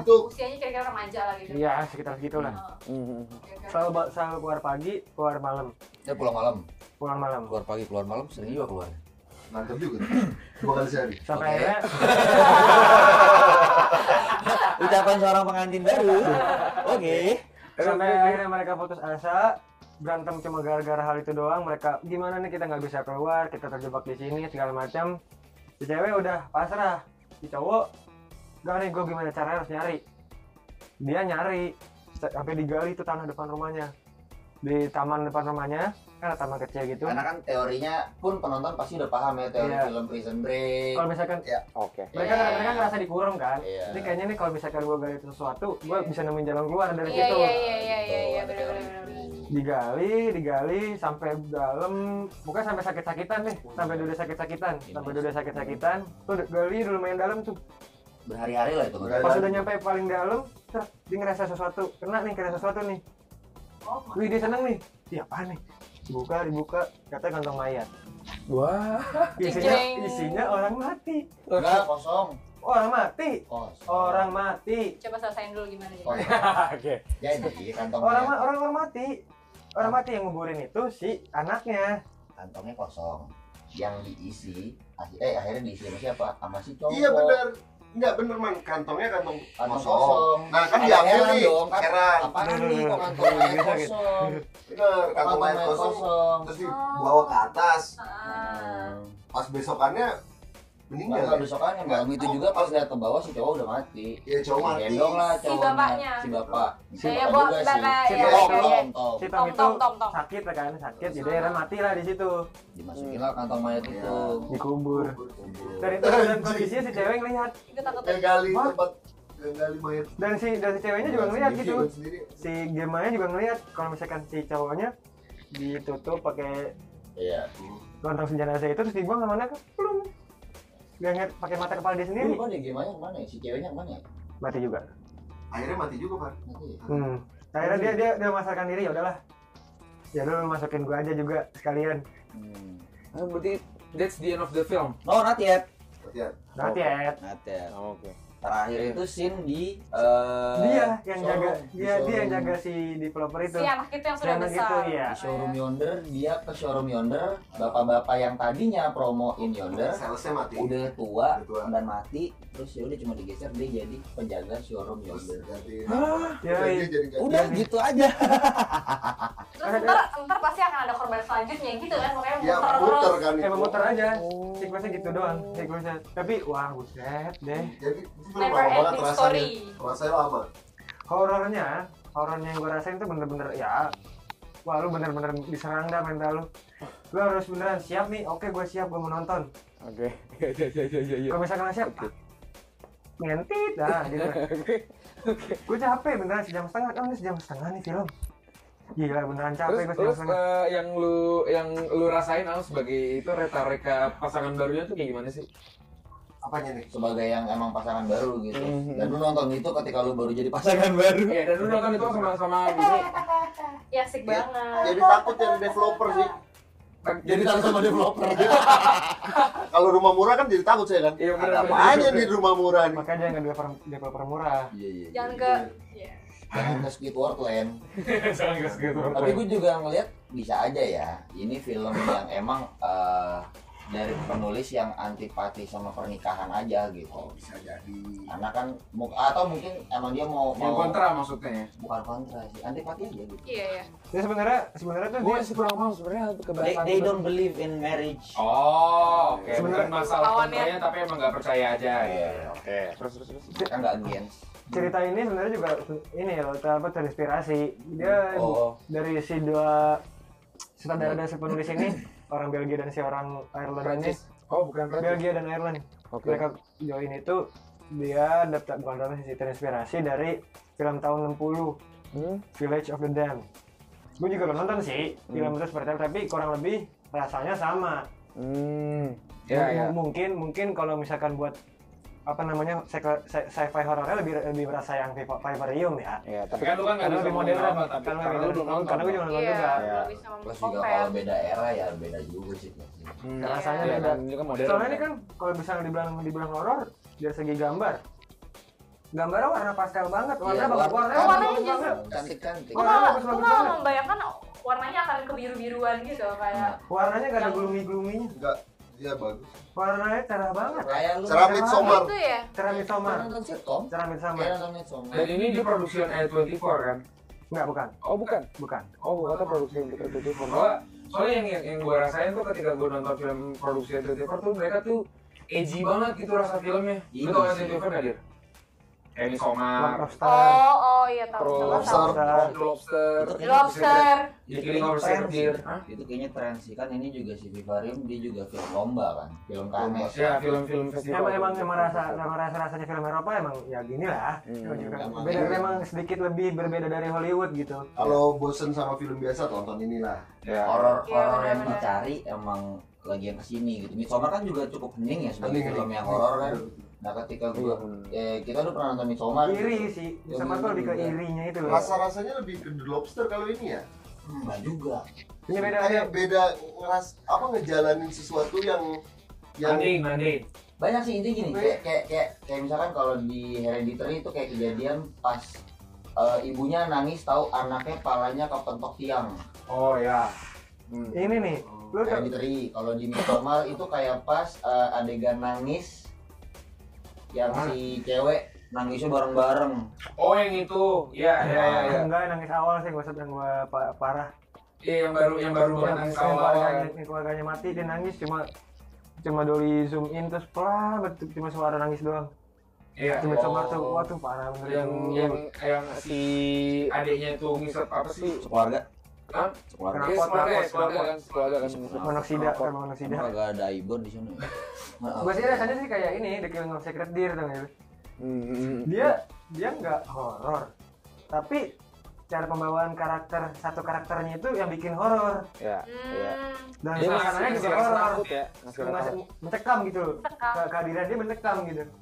S4: itu
S2: Usianya kira-kira remaja lah gitu.
S1: Iya sekitar segitulah.
S2: Oh,
S6: Hmm.
S2: oke, oke.
S1: Selalu ba- selalu keluar pagi, keluar malam,
S5: dia pulang malam
S1: pulang malam.
S5: keluar pagi keluar malam sering juga keluar
S4: mantap juga dua kali sehari
S1: Sampai
S5: Oke.
S1: akhirnya
S6: Ucapan seorang pengantin
S3: [LAUGHS]
S6: baru. Oke.
S1: sampai akhirnya mereka putus asa berantem cuma gara-gara hal itu doang mereka gimana nih kita nggak bisa keluar kita terjebak di sini segala macam si cewek udah pasrah si cowok gak nih gue gimana caranya harus nyari dia nyari sampai digali tuh tanah depan rumahnya di taman depan rumahnya kan ada taman kecil gitu
S5: karena kan teorinya pun penonton pasti udah paham ya teori
S1: Iya.
S5: film prison break
S2: Iya,
S1: kalau misalkan
S6: Oke.
S1: mereka
S5: Iya.
S1: mereka ngerasa dikurung kan
S5: Iya.
S1: jadi kayaknya nih kalau misalkan gue gali itu sesuatu gue bisa nemuin jalan keluar dari
S2: Iya
S1: situ
S2: iya iya iya
S5: Gitu,
S2: iya iya
S5: ada teori
S2: benar-benar.
S5: itu.
S1: digali digali sampai dalam bukan sampai sakit-sakitan nih sampai dulu sakit-sakitan sampai dulu sakit-sakitan tuh gali dulu main dalam tuh
S5: berhari-hari lah itu
S4: Berhari-hari.
S1: pas udah nyampe paling dalam ter dia ngerasa sesuatu kena nih kena sesuatu nih
S2: Oh,
S1: wih dia seneng nih iya apa nih buka dibuka kata kantong mayat
S3: Wah.
S1: isinya
S2: Jeng.
S1: isinya orang mati
S5: enggak kosong
S1: orang mati
S5: kosong
S1: orang mati
S2: coba selesain dulu gimana gitu.
S5: Kosong. Ya,
S3: Oke.
S5: jadi kantong
S1: orang ma- orang orang mati orang mati yang nguburin itu si anaknya
S5: kantongnya kosong yang diisi eh akhirnya diisi sama siapa sama si cowok
S4: iya benar nggak bener man kantongnya kantong
S5: kantong
S4: kosong
S5: kosong
S4: nah kan
S5: Ada
S4: diambil
S5: heran
S4: nih
S5: dong, kan?
S4: heran
S5: apaan nih kok kantongnya kosong
S4: bener
S5: kok
S4: kantong
S5: kantongnya
S4: mayat kosong
S5: kosong
S4: terus dibawa ke atas
S2: Ah.
S4: pas besokannya
S5: Enggak
S4: meninggal
S5: besok kan malam itu juga pas lihat ke bawah si cowok udah mati.
S4: ya cowok mati
S5: Gendong lah
S2: Si
S5: cowoknya.
S2: bapaknya.
S5: Si bapak. Si
S2: Saya
S5: bapak
S2: bawa
S5: juga sih.
S2: bapak
S1: Si
S2: ya.
S1: Tom,
S2: iya, iya.
S5: Tong, tong.
S1: si Tom
S2: Tom
S1: itu
S2: tom tom tom.
S1: sakit lah kan sakit jadi akhirnya mati lah di situ
S5: Dimasukin lah kantong mayat itu.
S1: dikubur dari itu dan kondisinya si cewek ngelihat
S2: Itu takut
S4: gali
S1: Hah?
S4: tempat gali mayat
S1: dan si dan si ceweknya juga ngelihat gitu
S4: Sendiri.
S1: si gemanya juga ngelihat kalau misalkan si cowoknya ditutup pakai
S5: Iya.
S1: lontong jenazah itu terus dibuang sama anak belum nggak ngeliat pakai mata kepala dia
S5: Ini
S1: sendiri
S5: Iya. mana gimana yang mana ya? Si ceweknya yang mana ya?
S1: mati juga
S4: akhirnya mati juga Far
S1: hmm. akhirnya dia dia dia memasarkan diri ya udahlah ya lu masukin gua aja juga sekalian
S5: Hmm.
S3: Ah, berarti that's the end of the film.
S5: Oh, not yet.
S4: berarti ya
S1: nanti ya
S5: Not yet.
S6: Oh, Oke.
S5: Terakhir itu scene di eh,
S1: dia yang
S5: showroom.
S1: jaga
S5: Di
S1: dia dia yang
S5: showroom.
S1: jaga si developer itu
S2: si anak itu yang sudah
S1: Karena
S2: besar
S1: gitu ya
S5: Di showroom yonder dia ke showroom yonder bapak-bapak yang tadinya promoin yonder
S4: salesnya mati
S5: udah tua,
S4: Udah tua.
S5: dan mati terus ya udah cuma digeser dia jadi penjaga showroom
S4: terus
S5: yonder
S4: ganti
S1: Ya,
S4: Jadi
S1: iya.
S4: dia jadi ganti
S5: udah gitu aja
S2: terus ntar ntar pasti akan ada korban selanjutnya gitu kan makanya
S4: ya
S2: muter
S4: muter
S2: terus
S4: kan itu
S1: emang muter Eh, aja sequence-nya gitu doang sequence-nya tapi wah buset deh
S4: jadi itu lama
S2: never
S4: banget
S2: ending
S4: rasanya
S2: story
S4: rasanya lama
S1: horornya horornya yang gue rasain tuh bener-bener ya wah lu bener-bener diserang dah mental lu lu harus beneran siap nih oke gue siap gue menonton
S6: Oke.
S3: [LAUGHS]
S6: Ya, ya, ya, ya,
S3: Iya.
S6: ya, ya.
S1: kalau misalkan nggak siap ah, ngentit dah gitu gue capek beneran sejam setengah oh ini sejam setengah nih film gila beneran capek gue
S3: Terus,
S1: sejam
S3: terus
S1: setengah
S3: eh, yang lu yang lu rasain Al sebagai itu retorika pasangan barunya tuh kayak gimana sih?
S4: apanya nih
S5: sebagai yang emang pasangan baru gitu
S4: Hmm.
S5: dan lu nonton itu ketika lu baru jadi pasangan [LAUGHS] baru
S3: Iya, dan lu nonton itu sama sama gitu.
S2: ya asik
S4: Ya,
S2: banget
S4: jadi takut jadi developer sih
S3: Kan
S5: jadi takut sama developer
S4: [LAUGHS] kalau rumah murah kan jadi takut saya kan
S3: Iya, bener,
S4: ada
S3: bener.
S4: apanya di rumah murah nih
S1: makanya jangan developer developer murah
S5: iya iya
S2: jangan ke ya.
S5: jangan ke Squidward Land
S3: Jangan gas gitu.
S5: tapi gue juga ngeliat bisa aja ya ini film yang emang eh, dari penulis yang antipati sama pernikahan aja gitu
S4: oh bisa jadi
S5: karena kan mu- atau mungkin emang dia mau
S3: Yang
S5: mau
S3: kontra maksudnya. ya?
S5: bukan kontra sih antipati aja gitu
S2: iya ya
S1: jadi sebenarnya sebenarnya tuh
S6: Gue
S1: dia
S6: masih kurang paham sebenarnya
S5: they,
S6: keberatan.
S5: they don't believe in marriage
S3: Oh, oke. Bukan
S1: Sebenarnya-
S3: masalah
S2: Lawannya.
S3: kontranya tapi emang nggak percaya aja. ya.
S5: Iya,
S3: oke. Terus terus terus.
S5: kan nggak against
S1: cerita ini sebenarnya juga ini ya apa terinspirasi dia
S5: Oh.
S1: dari si dua sutradara dan si penulis ini orang Belgia dan si orang Ireland ini
S3: Oh, bukan
S1: Belgia dan Ireland
S6: Oke.
S1: mereka join itu dia dapat bukan dapat sih terinspirasi dari film tahun 60
S6: Hmm?
S1: Village of the Damned gue juga belum nonton sih film itu seperti itu tapi kurang lebih rasanya sama
S6: Hmm.
S3: Iya,
S1: M-
S3: iya.
S1: mungkin mungkin kalau misalkan buat apa namanya sci- sci- sci-fi horornya lebih lebih berasa yang Viva- Vivarium ya
S6: Ya,
S3: Tapi
S6: tapi
S3: kan lu kan nggak
S1: karena
S3: bisa
S1: lebih
S3: model
S1: modern
S3: apa, tapi
S1: karena
S3: karena lu
S1: lebih
S3: belum
S1: modern
S3: nonton.
S1: karena gue juga nonton
S2: iya
S1: juga
S2: nggak bisa
S5: plus juga
S2: compare
S5: kalau beda era ya beda juga sih pasti.
S3: Hmm.
S1: Karena rasanya
S3: Iya,
S1: beda.
S3: kan, Ini kan modern.
S1: soalnya ini kan kalau misalnya dibilang dibilang horor dari segi gambar gambarnya warna pastel banget warna
S5: Iya,
S1: bagus
S5: warna-
S1: warnanya
S2: warnanya
S1: bagus
S2: hijau.
S1: banget
S5: cantik cantik
S2: gue
S1: Wah,
S2: malah
S1: bagus,
S2: gue
S1: bagus
S2: malah
S1: banget.
S2: membayangkan warnanya akan kebiru-biruan gitu kayak
S1: warnanya gak ada gloomy gloominya
S4: enggak dia bagus
S1: warnanya cerah banget
S5: kayak lu
S4: cerah midsummer
S2: itu ya
S1: cerah midsummer
S5: Kayak nonton sitcom
S1: cerah midsummer
S5: kayak nonton midsummer
S3: Dan ini di produksi A24 kan.
S1: enggak bukan
S6: oh bukan.
S1: bukan
S6: Oh, gue kata produksi untuk itu
S3: Bahwa soalnya yang yang, yang gue rasain tuh ketika gue nonton film produksi A24 tuh mereka tuh edgy banget gitu rasa filmnya.
S5: Iya
S3: Lu tau kan
S5: sih.
S3: A24 gak dir? Kayak
S1: Lord
S3: Midsommar,
S1: of Star
S2: oh oh iya tahu tahu
S3: Terus-
S2: tahu
S1: Star
S3: The
S5: Itu kayaknya
S3: Lobster,
S2: lobster
S3: The Killing of a Sacred Deer. Hah?
S5: itu kayaknya tren sih kan ini juga si Vivarium dia juga film lomba kan film kanes
S3: Ya film-film festival.
S1: emang emang emang rasa emang rasa rasanya film Eropa emang ya gini lah Emang juga
S5: emang.
S1: beda memang sedikit lebih berbeda dari Hollywood gitu
S4: kalau bosen sama film biasa tonton inilah
S3: Ya.
S5: horor
S2: Iya,
S5: horor yang
S2: benar-benar.
S5: dicari emang lagi yang kesini gitu Midsommar kan juga cukup hening ya sebagai
S4: Hening,
S5: film
S4: hening.
S5: yang horor kan
S4: Iya.
S5: nah ketika gua eh, kita tuh pernah nonton Midsommar gitu. Ya,
S1: iri sih
S5: Iya,
S1: sama tuh lebih ke irinya itu loh
S4: rasa rasanya lebih ke The Lobster kalau ini ya
S5: Hmm, nggak juga
S1: ini beda ya
S4: kayak beda ngeras apa ngejalanin sesuatu yang yang
S3: Mandi, mandi.
S5: banyak sih intinya gini kayak kayak kayak, kayak misalkan kalau di hereditary itu kayak kejadian pas eh, ibunya nangis tahu anaknya palanya kepentok tiang
S3: Oh ya. Hmm.
S1: ini nih lu tau
S5: hereditary kalau di Midsommar [COUGHS] itu kayak pas eh, adegan nangis yang si cewek nangisnya bareng-bareng
S3: Oh yang itu, ya ya ya. ya.
S1: enggak yang nangis awal sih maksud yang gua pa- parah
S3: Iya yang baru yang baru
S1: yang,
S3: nangis
S1: yang
S3: awal.
S1: keluarganya, yang keluarganya mati dia nangis cuma cuma doli zoom in terus pelan betul cuma suara nangis doang
S3: Iya.
S1: cuma coba tuh
S3: Oh.
S1: wah tuh parah bener
S3: yang
S1: itu.
S3: yang yang si adiknya itu ngisep apa sih?
S5: sekeluarga
S3: Hah?
S5: sekeluarga
S1: Kenapa?
S3: Iya, sekeluarga,
S1: kenapa,
S3: ya, sekeluarga
S1: kenapa?
S3: kan, sekeluarga kan.
S1: monoksida kan monoksida
S5: Emang agak ada Ibon di sana.
S1: gua sih rasanya sih kayak ini The Killing of Sacred Deer tau nggak lu?
S6: Hmm.
S1: dia dia nggak horor tapi cara pembawaan karakter satu karakternya itu yang bikin horor
S6: Ya, ya.
S2: hmm
S1: dan
S6: Dia ngasih
S1: suasananya
S6: ngasih
S1: juga
S6: rasa
S1: horor
S6: takut ya, ngasih rasa
S1: Ngasih- mencekam gitu loh
S2: Mencekam.
S1: Ke- kehadiran dia mencekam gitu
S3: Iya.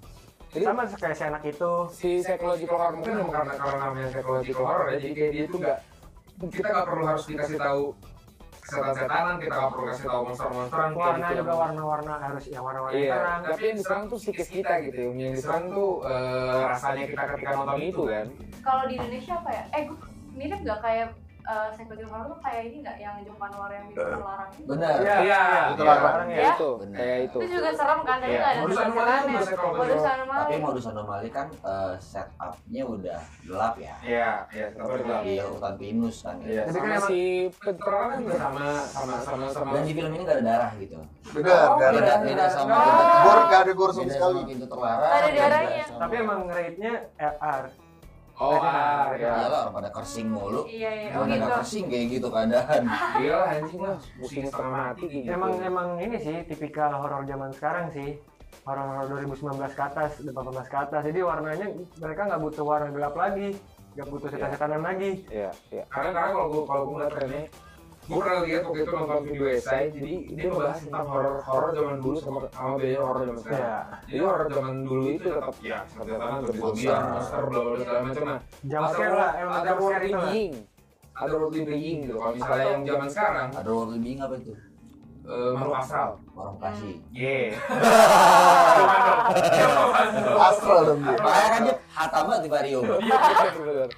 S6: Jadi-
S1: sama kayak si anak itu
S3: si psychological horror mungkin emang karena karena namanya psychological horror ya jadi kayak dia tuh nggak kita nggak perlu harus dikasih tahu setan-setanan kita nggak perlu kasih tahu monster-monsteran
S1: warna
S3: kayak gitu.
S1: juga warna-warna harus yang warna-warna
S3: Iya,
S1: terang
S3: tapi yang diserang tuh psikis kita gitu ya. Yang diserang tuh eh, rasanya kita ketika nonton itu kan.
S2: Kalau di Indonesia apa ya? Eh, gua mirip gak kayak eh psychological horror tuh kayak ini gak yang Jepang Noir yang di larang itu?
S5: Eh, Benar.
S1: Iya,
S3: Iya,
S1: itu
S3: iya.
S1: warna-warna ya.
S2: Ya.
S6: itu
S5: Bener.
S6: kayak itu
S2: Itu juga serem kan, tapi
S3: Iya.
S2: nggak ada
S3: Modus
S2: setan-setanan
S3: anomalis
S2: ya.
S3: masih kalau gua
S2: Modus
S5: Tapi
S2: anomalis.
S5: modus anomali kan eh, setupnya udah gelap ya.
S3: Iya, iya, kita balik lagi.
S5: Di hutan pinus kan.
S3: Iya,
S1: Tapi
S3: sama
S1: kan emang-
S3: si penerangan juga sama sama sama sama.
S5: Dan di film ini nggak ada darah gitu.
S4: Benar,
S3: Oh,
S4: gak ada.
S5: Beda beda sama
S3: Oh.
S4: Gor gak ada gor sama
S5: beda
S4: sekali.
S5: sama pintu terlarang.
S2: Nggak ada
S5: beda
S2: darahnya.
S5: sama-
S1: tapi emang rate-nya eh, ah, LR
S3: Oh, ah, iya.
S5: Iyalah orang pada kersing mulu.
S2: Iya, iya. Oh
S5: Gimana
S2: gitu.
S5: nggak kersing kayak gitu keadaan.
S3: Iyalah anjing lah, pusing setengah mati kayak gitu.
S1: emang emang ini sih tipikal horor zaman sekarang sih horor horor 2019 ke atas 2018 ke atas jadi warnanya mereka nggak butuh warna gelap lagi nggak butuh
S3: Iya.
S1: setan-setanan lagi
S6: ya ya
S3: karena karena kalau gua kalau gua ngeliat trennya gua pernah lihat waktu itu nonton video esai jadi dia ngebahas tentang horor horor zaman dulu sama sama bedanya horor zaman sekarang
S1: ya
S3: jadi horor zaman dulu itu Iya. tetap ya setan-setanan lebih besar monster bla bla bla, segala macam nah
S1: jump scare lah emang
S3: ada
S1: jump
S3: world
S1: scare itu lah
S6: Ying.
S3: ada worldly being gitu kalau misalnya yang zaman sekarang
S5: Ada orang lebih apa itu?
S3: eh, makhluk astral
S5: Orang kasih.
S3: yeah
S4: Hmm. Astral dong dia.
S5: Makanya kan dia hatam banget di vario.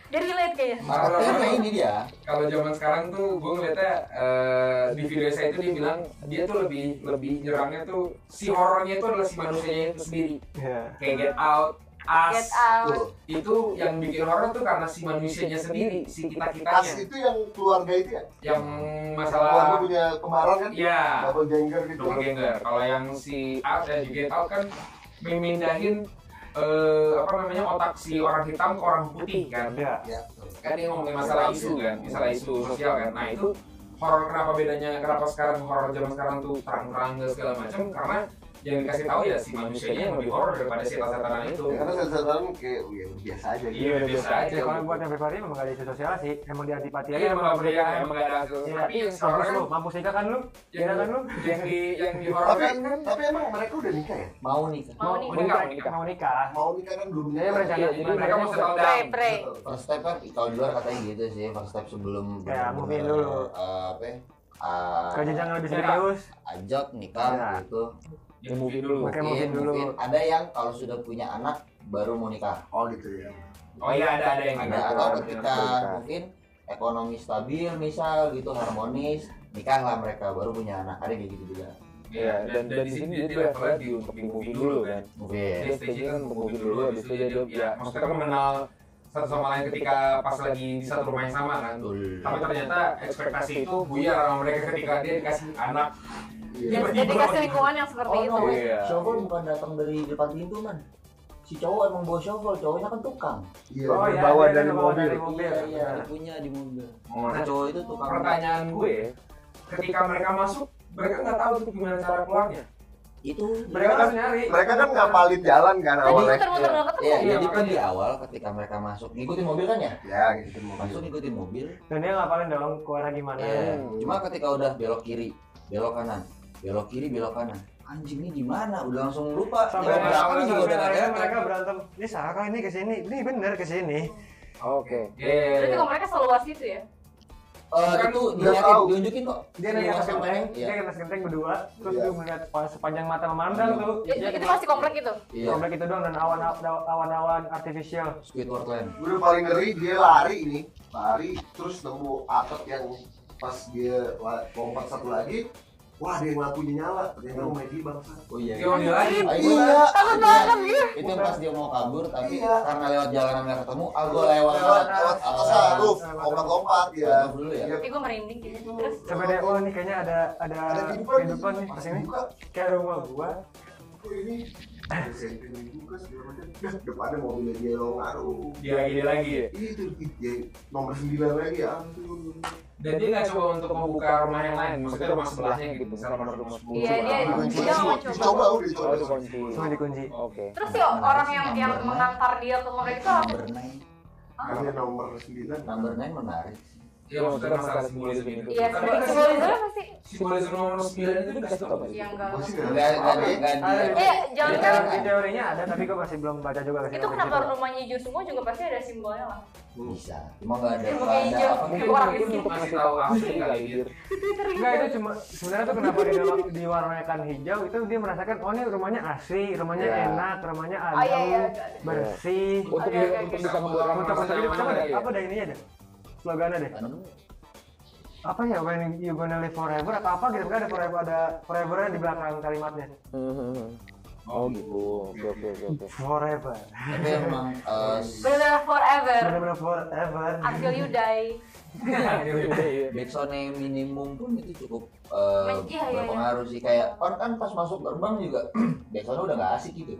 S2: Dia relate kayaknya.
S3: Astral.
S5: Karena ini dia.
S3: kalau zaman sekarang tuh gue ngeliatnya eh, di video saya itu dia bilang dia tuh lebih lebih nyerangnya tuh si horornya itu adalah si manusianya itu sendiri
S1: ya
S3: kayak Get Out, Us
S2: Get Out.
S3: tuh. itu yang bikin horor tuh karena si manusianya sendiri, si kita
S4: As
S3: kitanya
S4: itu yang keluarga itu ya?
S3: yang
S4: Keluarga
S3: masalah
S4: punya kembaran kan?
S3: ya
S4: Double ganger gitu.
S3: doppelganger. Kalau yang si Us dan juga Get Out kan memindahin eh, apa namanya otak si orang hitam ke orang putih kan
S1: ya
S4: Ya.
S3: kan dia ngomongin masalah isu kan masalah isu sosial kan nah itu horor kenapa bedanya kenapa sekarang horor zaman sekarang tuh terang-terang dan segala macam karena yang dikasih tahu ya si manusianya yang lebih horor daripada si setan itu
S4: Karena setan-setan kayak ya, biasa aja gitu.
S3: iya udah biasa aja
S1: Ya, kalau buat yang pribadi memang gak ada isu sosial sih emang dia antipati
S3: Iya
S1: aja
S3: emang
S1: sama
S3: nggak berdaya,
S1: pernikahan
S3: emang nggak ada
S1: Ya,
S3: Tapi yang sekarang
S1: mampus
S3: kan
S1: lu mampus nikah kan lu
S3: yang
S1: Iya kan lu
S3: yang di yang di horor
S4: Tapi,
S3: kan
S4: tapi emang mereka udah nikah ya?
S5: Mau nih.
S2: Mau
S1: mau
S2: nih.
S3: nikah,
S1: nikah
S3: mau nikah.
S1: mau nikah
S4: Mau nikah kan belum
S1: Iya, mereka-
S4: nikah.
S3: Iya, jadi mereka mau settle
S2: Pray,
S3: down.
S2: pray.
S5: First step kan kalau di luar katanya gitu sih, first step sebelum
S1: Ya,
S5: benar-benar,
S1: mungkin dulu.
S5: eh, apa ya? eh,
S1: ke jenjang yang lebih
S3: Iya.
S1: serius
S5: ajak nikah
S1: Ya.
S5: gitu.
S3: Di movie dulu.
S1: pakai mungkin dulu
S5: mungkin ada yang kalau sudah punya anak baru mau nikah.
S4: Oh gitu ya.
S3: Oh iya ada ada yang gitu. Iya,
S5: Ada atau ketika mungkin ekonomi stabil misal gitu harmonis nikahlah mereka baru punya anak ada kayak gitu juga
S3: Iya dan dan di sini dia levelnya di untuk di movie dulu kan.
S5: mungkin
S3: Dia stage kan untuk movie dulu habis itu dia dia ya maksudnya kan mengenal satu sama lain ketika pas lagi di satu rumah yang sama kan.
S5: betul
S3: Tapi ternyata ekspektasi itu buyar sama mereka ketika dia dikasih anak.
S4: Iya.
S2: Jadi dikasih lingkungan yang seperti
S5: oh
S2: itu.
S5: no
S3: Iya.
S5: shovel bukan datang dari depan pintu man si cowok emang bawa shovel cowoknya kan tukang
S4: Iya,
S1: Oh, iya,
S4: dibawa
S1: iya,
S4: dari
S1: dibawa
S4: mobil.
S1: dari mobil.
S5: iya iya dia punya di mobil
S3: Nah,
S5: nah, cowok itu tukang
S3: pertanyaan gue ketika mereka masuk mereka nggak tahu tuh gimana cara keluarnya.
S5: itu
S1: mereka harus nyari
S4: Mereka kan ngapalin jalan kan
S2: Tadi
S4: awalnya.
S2: muter-muter nggak ketemu.
S5: Iya,
S3: Iya,
S5: jadi kan
S3: makanya.
S5: di awal ketika mereka masuk ngikutin mobil kan ya
S4: Ya gitu mau
S5: masuk
S4: masuk.
S5: ngikutin mobil
S1: dan dia ngapalin dong ke arah gimana
S5: Iya. Cuma ketika udah belok kiri, belok kanan, belok kiri, belok kanan. Anjing ini gimana? Udah langsung lupa.
S1: sampai
S5: Nengok belakang
S1: sampai
S5: Iya, juga udah
S1: akhirnya
S5: nggak kelihatan.
S1: mereka berantem ini salah kah ini kesini ini bener kesini
S6: oke
S2: Berarti
S3: Iya.
S2: kalau mereka seluas itu ya?
S5: Eh,
S3: Kan
S5: itu
S4: udah
S5: dilihatin,
S4: tahu.
S5: diunjukin kok.
S1: dia naik atas
S5: sama
S1: genteng
S5: Iya.
S1: dia naik atas genteng berdua terus
S4: Iya.
S1: dia melihat pas- sepanjang mata memandang
S5: Iya.
S1: tuh
S2: Itu itu masih komplek gitu. itu.
S5: Iya,
S1: komplek itu gitu doang dan awan-awan awan-awan artificial
S5: Squidward Land.
S4: Gue udah paling ngeri dia lari ini, lari terus nemu atap yang pas dia la- lompat satu lagi, wah dia yang lampunya nyala, ternyata rumah dia bangsa.
S5: Oh iya.
S3: Dia udah lagi.
S5: Ah, itu-
S4: Iya,
S2: Takut banget iya.
S5: Itu yang pas dia mau kabur tapi
S4: Iya.
S5: karena lewat jalanan nggak ketemu, ah gua lewat
S4: lewat lewat atas
S5: ah,
S4: roof, lompat-lompat
S5: lewat
S4: ya.
S5: dulu ya.
S4: Iya.
S2: Eh, gue merinding gitu. Terus
S1: sampai dia wah ini kayaknya ada ada
S4: Ada kehidupan di
S1: kehidupan nih
S4: Pas
S1: kesini
S4: buka,
S1: kayak rumah gua
S4: oh ini ada sentri dibuka segala macam. Dah, Depannya mobilnya dia lo ngaruh.
S3: Dia lagi dia lagi.
S4: Itu dia nomor 9 lagi ya. ampun.
S3: dan dia nggak coba untuk membuka rumah yang lain maksudnya rumah sebelahnya gitu misalnya rumah rumah sepuluh
S2: Iya, dia-
S3: rumah
S4: Dikunci,
S2: Dia mau coba.
S4: dicoba udah
S3: oh itu
S4: dicoba.
S3: kunci
S1: semua dikunci
S3: oke
S2: terus ya orang yang yang
S5: Iya.
S2: mengantar dia ke komplek itu apa? Ah.
S5: Number nine.
S4: Ada nomor 9.
S5: Number nine menarik.
S3: Iya, maksudnya masalah simbolisme itu.
S2: Iya,
S3: Tapi
S2: tapi
S3: kan
S2: sebenarnya pasti
S3: Simbolisme nomor 9 itu dikasih tau nggak sih?
S2: ya enggak.
S4: Gua sih nggak
S5: Enggak, enggak,
S4: tahu.
S5: enggak,
S1: Ada.
S5: enggak.
S2: Eh, jangan
S1: Di
S2: kan
S1: teori- di teorinya ada tapi gue masih belum baca juga ke sini. Gitu.
S2: itu kenapa rumahnya hijau semua juga pasti ada simbolnya lah.
S5: Bisa. Cuma enggak ada.
S2: Emang
S5: Enggak ada
S2: hijau.
S5: apa.
S6: Mungkin
S2: Orang
S6: mungkin
S2: miskin.
S6: untuk ngasih tahu asli kali
S3: gitu.
S6: Dir.
S1: Enggak itu cuma sebenarnya tuh kenapa di dalam diwarnakan hijau itu dia merasakan oh ini rumahnya asri, rumahnya
S6: Iya.
S1: enak, rumahnya adem,
S2: Oh iya iya. agak ada.
S1: bersih.
S3: Iya.
S6: Untuk
S2: Oke, oke,
S6: untuk
S2: oke.
S6: bisa membuat orang
S1: Untuk
S6: merasa
S1: untuk itu
S6: nyaman
S1: apa
S6: lagi
S1: deh?
S6: ya.
S1: Apa deh ininya deh? Slogannya deh. Apa ya when you gonna live forever atau apa gitu kan ada forever ada forevernya di belakang kalimatnya.
S6: Mhm. Oh gitu. Oke oke oke oke.
S1: Forever.
S5: Tapi emang eh,
S2: Bener forever
S1: Benar-benar forever.
S2: until you die.
S3: Iya,
S5: backsone minimum pun itu cukup
S2: Iya,
S5: eh,
S2: iya, iya.
S5: berpengaruh sih kayak kan kan pas masuk gerbang juga [CLEARS THROAT] backsone udah nggak asik gitu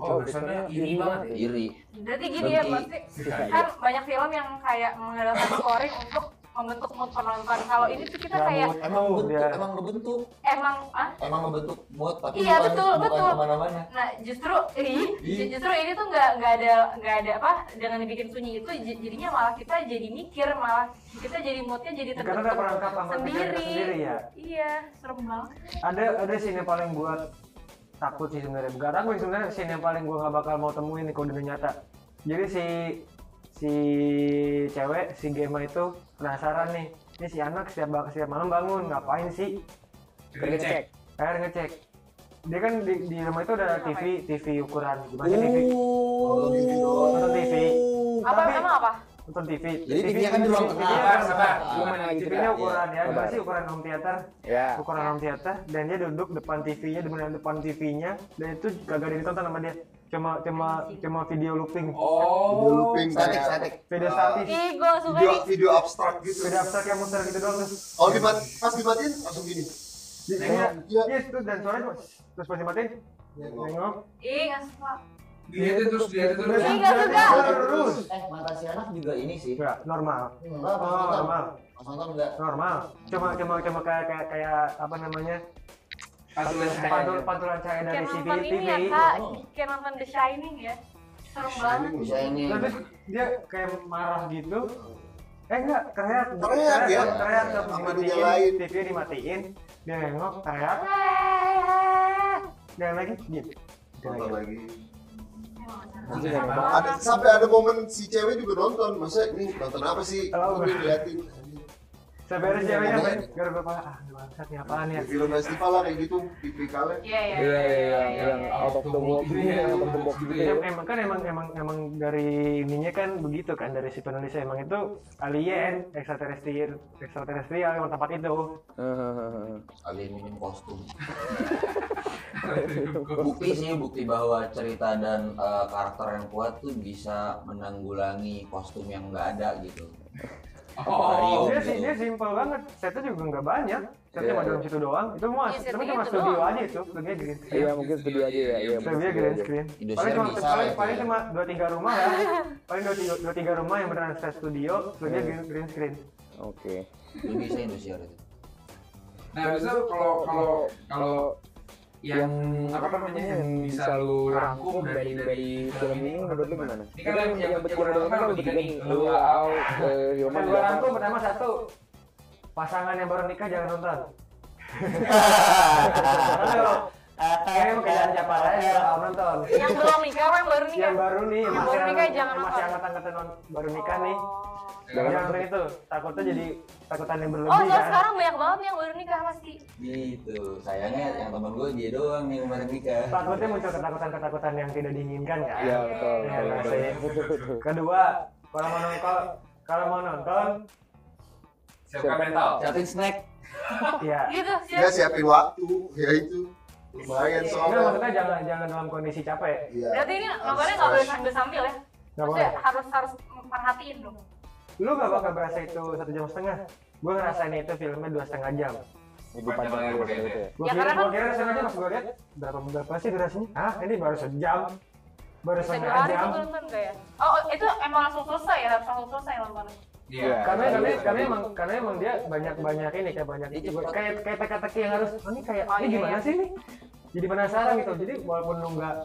S3: Oh, biasanya ini banget ya.
S5: iri
S2: Berarti gini ya
S5: Berhenti.
S2: pasti kan banyak film yang kayak mengandalkan scoring untuk membentuk mood penonton. Kalau ini tuh kita kayak
S1: Rambut tuh
S5: bentuk,
S1: dia.
S5: emang ngebentuk
S2: emang ah
S5: emang ngebentuk mood tapi
S2: Iya,
S5: bukan,
S2: betul,
S5: bukan
S2: betul.
S5: kemana-mana
S2: Nah justru ini, justru ini tuh nggak nggak ada nggak ada apa dengan dibikin sunyi itu j- jadinya malah kita jadi mikir malah kita jadi moodnya jadi
S1: Ya, Karena ada
S2: terbentuk
S1: perangkap sama pikiran kita
S2: sendiri.
S1: sendiri ya.
S2: Iya serem banget.
S1: Ada ada scene yang paling gue takut sih sebenarnya. Bukan takut sih sebenarnya scene yang paling gue gak bakal mau temuin di dunia nyata. Jadi si si cewek si Gema itu penasaran nih. Ini si anak setiap ba- setiap malam bangun ngapain sih?
S3: Kita cek.
S1: Akhir ngecek. Dia kan di, di rumah itu ada
S2: ya?
S1: TV TV ukuran gimana sih TV
S5: Oh.
S1: nonton TV
S2: Apa
S1: Uh, Tapi-
S2: emang apa?
S1: nonton TV.
S5: Jadi TV-nya kan di ruang
S1: TV-nya
S5: tengah.
S3: Sabar,
S1: kan-
S3: sabar. Gimana gitu
S1: TV-nya
S5: Iya,
S1: ukuran ya,
S6: sabar.
S1: gimana sih ukuran home theater?
S6: Ya.
S1: ukuran home theater dan dia duduk depan TV-nya di beneran depan TV-nya dan itu kagak ada yang ditonton sama dia cuma cuma cuma video looping
S4: Video
S3: Oh.
S4: looping
S5: statik
S4: kayak
S5: statik
S1: video statis
S2: Ih gue gak suka
S1: iya.
S4: video
S2: nih.
S4: video abstrak gitu.
S1: video abstrak yang muter gitu doang terus
S4: Oh dimat pas dimatiin langsung gini.
S1: iya
S4: Iya.
S1: iya itu dan suaranya cuma "Shh." terus pas dimatiin
S4: Nengok.
S1: nengok
S2: Ih gak suka.
S3: Dilihatin terus, dilihatin Iya, terus.
S2: Ih gak suka.
S1: terus
S5: eh mata si anak juga ini sih
S1: enggak normal Oh,
S5: enggak pas nonton
S1: normal
S5: pas nonton enggak
S1: normal cuma cuma cuma kayak kayak kayak apa namanya
S3: Pantulan cahaya.
S1: pantul pantulan cahaya dari
S2: Kayak
S1: si
S2: nonton ini
S1: TV
S2: ya kak. Kayak nonton The Shining ya. Serem banget.
S5: bisa ini
S1: terus dia kayak marah gitu eh enggak teriak
S4: Teriak ya?
S1: teriak, teriak terus
S4: Sama dunia
S1: dimatiin
S4: lain.
S1: TV dimatiin dia nengok teriak dan lagi gitu Dia
S4: Nonton
S1: lagi.
S4: lagi.
S2: Serem
S4: Ada
S2: banget.
S4: sampai ada momen si cewek juga nonton. Masa ini nonton apa sih?
S1: Oh,
S4: Tapi ngeliatin. anjing.
S1: sampai ada ceweknya
S4: Iya.
S1: gara apa ah bangsat nih apaan ya
S4: Di film festival lah kayak gitu, tipikalnya.
S2: Iya iya
S6: Iya iya
S2: iya,
S6: yang
S2: iya.
S6: out of the world gitu ya, out of the box gitu ya.
S1: Em- emang kan emang emang emang dari ininya kan begitu kan dari si penulisnya emang itu alien ekstraterestrial ekstraterestrial yang tempat itu
S6: Hehehe.
S5: alien minum kostum bukti sih bukti bahwa cerita dan eh, karakter yang kuat tuh bisa menanggulangi kostum yang nggak ada gitu
S3: Oh.
S4: iya.
S1: dia Iya sih dia simpel banget setnya juga nggak banyak setnya cuma dalam situ doang itu mas
S2: Iya,
S1: tapi
S2: setnya
S1: cuma
S2: itu
S1: studio
S2: doang.
S1: aja itu studionya green screen
S6: Iya mungkin studio aja ya. Iya, mungkin
S1: studionya
S6: studio
S1: green
S6: aja.
S1: screen
S5: Indonesia
S1: paling cuma
S5: bisa
S1: paling,
S5: itu
S1: paling
S5: ya.
S1: cuma dua tiga rumah
S2: [LAUGHS]
S1: ya paling dua tiga, dua tiga rumah yang beneran set studio studionya
S6: Iya.
S1: green, green screen
S6: Oke.
S5: lu bisa Indonesia itu
S3: Nah, biasanya kalau kalau kalau yang apa namanya yang bisa lu rangkum dari dari
S6: film ini menurut lu gimana?
S3: Ini kan yang- yang
S6: berkurang dalam kan
S3: berkurang
S6: lebih
S3: dalam
S6: gede.
S3: kan
S6: Lu eh,
S3: lebih
S6: au ke
S1: yang
S6: Hilman
S1: gue rangkum pertama satu pasangan yang baru nikah jangan nonton karena kalau kayak kayak siapa aja jangan nonton
S2: Yang belum nikah orang baru nikah.
S1: yang baru nih yang
S2: Iya. Yang
S1: masih
S2: baru nikah
S1: yang-
S2: jangan
S1: masih
S2: nonton.
S1: angkat-angkatan non- baru nikah nih
S2: Oh.
S3: Jangan
S1: jangan nonton itu takutnya jadi takutan yang
S2: Oh,
S1: berlebih
S2: soalnya
S1: kan
S2: sekarang banyak banget nih yang baru nikah pasti.
S5: gitu sayangnya yang teman gue dia doang nih kemarin nikah
S1: takutnya muncul ketakutan-ketakutan yang tidak diinginkan kan
S6: Iya betul.
S1: Iya,
S6: betul, betul.
S1: masih.
S6: [LAUGHS]
S1: kedua kalau mau nonton kalau mau nonton
S3: siapkan mental.
S5: siapin snack
S1: ya
S2: Gitu sih.
S4: Ya siapin waktu, [LAUGHS] ya itu lumayan
S1: enggak
S4: soalnya.
S1: maksudnya jangan jangan dalam kondisi capek
S4: Iya.
S2: Berarti ini nontonnya nggak boleh sambil sambil ya?
S1: nggak
S2: Maksudnya
S1: boleh
S2: harus harus perhatiin dong.
S1: lu gak bakal berasa itu satu jam setengah gue ngerasain itu filmnya dua setengah jam
S6: Lebih panjang lagi daripada itu ya.
S1: gue
S2: Ya,
S1: kira
S2: karena
S1: gue
S2: kan-
S1: kira setengah jam pas gue lihat berapa berapa sih durasinya ah ini baru sejam baru
S2: Bisa dua
S1: setengah
S2: hari
S1: jam
S2: tuh nonton nggak ya? Oh, oh, itu emang langsung selesai ya? Harus langsung selesai nonton.
S3: Iya.
S1: karena karena karena emang karena emang dia banyak banyak ini kayak banyak kayak kayak teka-teki yang harus oh, ini kayak
S2: Iya, Oh,
S1: ini
S2: iya,
S1: gimana
S2: iya.
S1: sih ini jadi penasaran gitu jadi walaupun lu nggak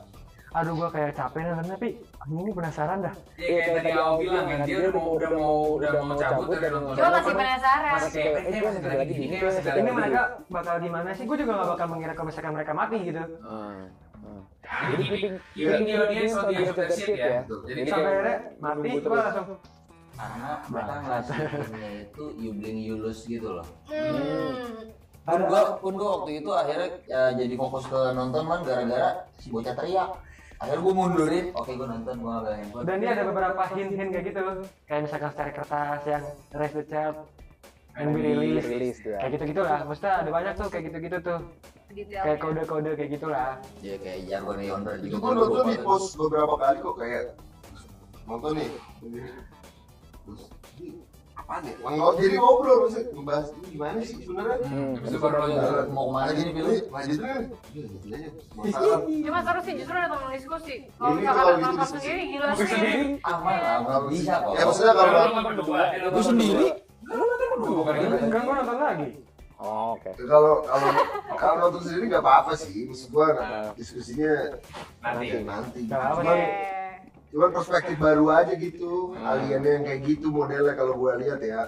S1: aduh gua kayak capek nih nonton, tapi anjing ini penasaran dah
S3: Iya kayak tadi awal bilang kan dia udah mau udah mau udah mau cabut dari nonton.
S2: Cuma masih penasaran.
S3: masih kayak eh, masih ada lagi gini, masih ada
S1: ini
S3: lagi.
S1: mereka bakal gimana sih gue juga gak bakal mengira kalau misalkan mereka mati gitu
S3: Jadi giving giving the audience on the edge of their seat ya. Jadi kita
S1: sampai akhirnya mati gua langsung
S5: karena mereka
S1: Nah.
S5: ngerasa filmnya itu you blink you lose gitu loh
S2: Hmm.
S5: pun gua pun gua waktu itu akhirnya eh, jadi fokus ke nonton man gara-gara si bocah teriak akhirnya gua mundurin oke gua nonton gua nggak handphone
S1: dan dia ada beberapa hint-hint kayak gitu kayak misalkan secara kertas yang raise the child and be released
S6: Rilis ya.
S1: kayak gitu gitulah maksudnya ada banyak tuh kayak gitu gitu tuh
S2: Detailnya.
S1: kayak kode-kode kayak gitulah
S5: ya kayak jargon yonder
S4: itu pun
S5: juga gua
S4: nonton
S5: lupa
S4: di
S5: tuh.
S4: post beberapa kali kok kayak nonton nih terus ini apaan ya Ngobrol- jadi ngobrol maksud ngebahas ini gimana sih sebenarnya
S6: Iya. Hmm.
S3: habis itu baru lanjut.
S5: Iya, mau kemana
S4: lagi
S5: sih
S4: di
S5: ini
S4: film
S5: film
S4: lanjut aja Iya, lanjut aja. Penasaran.
S2: Cuma seru sih justru ada teman diskusi. Kalau
S4: Ini
S2: misalkan
S4: kalau
S2: ada nonton
S4: diskusi.
S2: sendiri gila sih.
S5: aman lah nggak bisa kok
S4: ya maksudnya
S3: Baru
S4: kalau
S3: nonton berdua, dia nonton
S6: Lu sendiri?
S3: berdua, bukan gitu.
S1: kan gua nonton lagi
S6: Oh, oke.
S4: kalau kalau kalau nonton sendiri nggak apa-apa sih maksud gua diskusinya
S3: Nanti.
S4: nanti
S1: Ah. Nggak apa-apa.
S4: Cuman-
S2: Oke.
S4: cuman perspektif baru aja gitu aliennya yang kayak gitu modelnya kalau gua lihat ya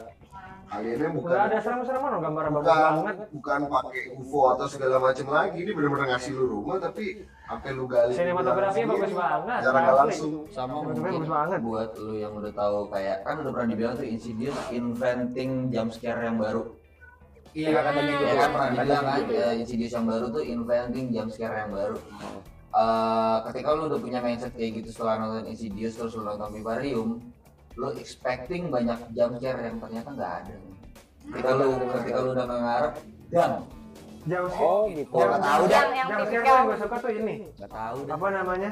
S4: aliennya
S1: nggak ada
S4: bukan
S1: serem-sereman loh gambar bagus
S4: bukan
S1: banget
S4: bukan pakai UFO atau segala macam lagi ini benar-benar ngasih lu rumah tapi sampai lu gali
S1: Sinematografinya
S4: sendiri,
S1: bagus banget,
S4: jarang nggak
S1: asli.
S4: langsung
S5: sama
S1: Temen-temen
S5: mungkin
S1: bagus banget.
S5: buat lu yang udah tahu kayak kan udah pernah dibilang tuh Insidious inventing jump scare yang baru
S3: Iya kata gitu.
S5: ya kan pernah dibilang kan
S4: iya.
S5: ya, Insidious yang baru tuh inventing jump scare yang baru Eh, ketika lu udah punya mindset kayak gitu setelah nonton Insidious terus lu nonton Vivarium lu expecting banyak jump scare yang ternyata nggak ada ketika lu ketika lu udah ngarep dan
S1: jauh sih
S6: Oh, gitu.
S5: Gua nggak tahu dah
S2: Yang- yang
S1: jauh sih
S2: tipikal.
S1: yang gue suka tuh ini
S5: nggak tahu dah
S1: apa namanya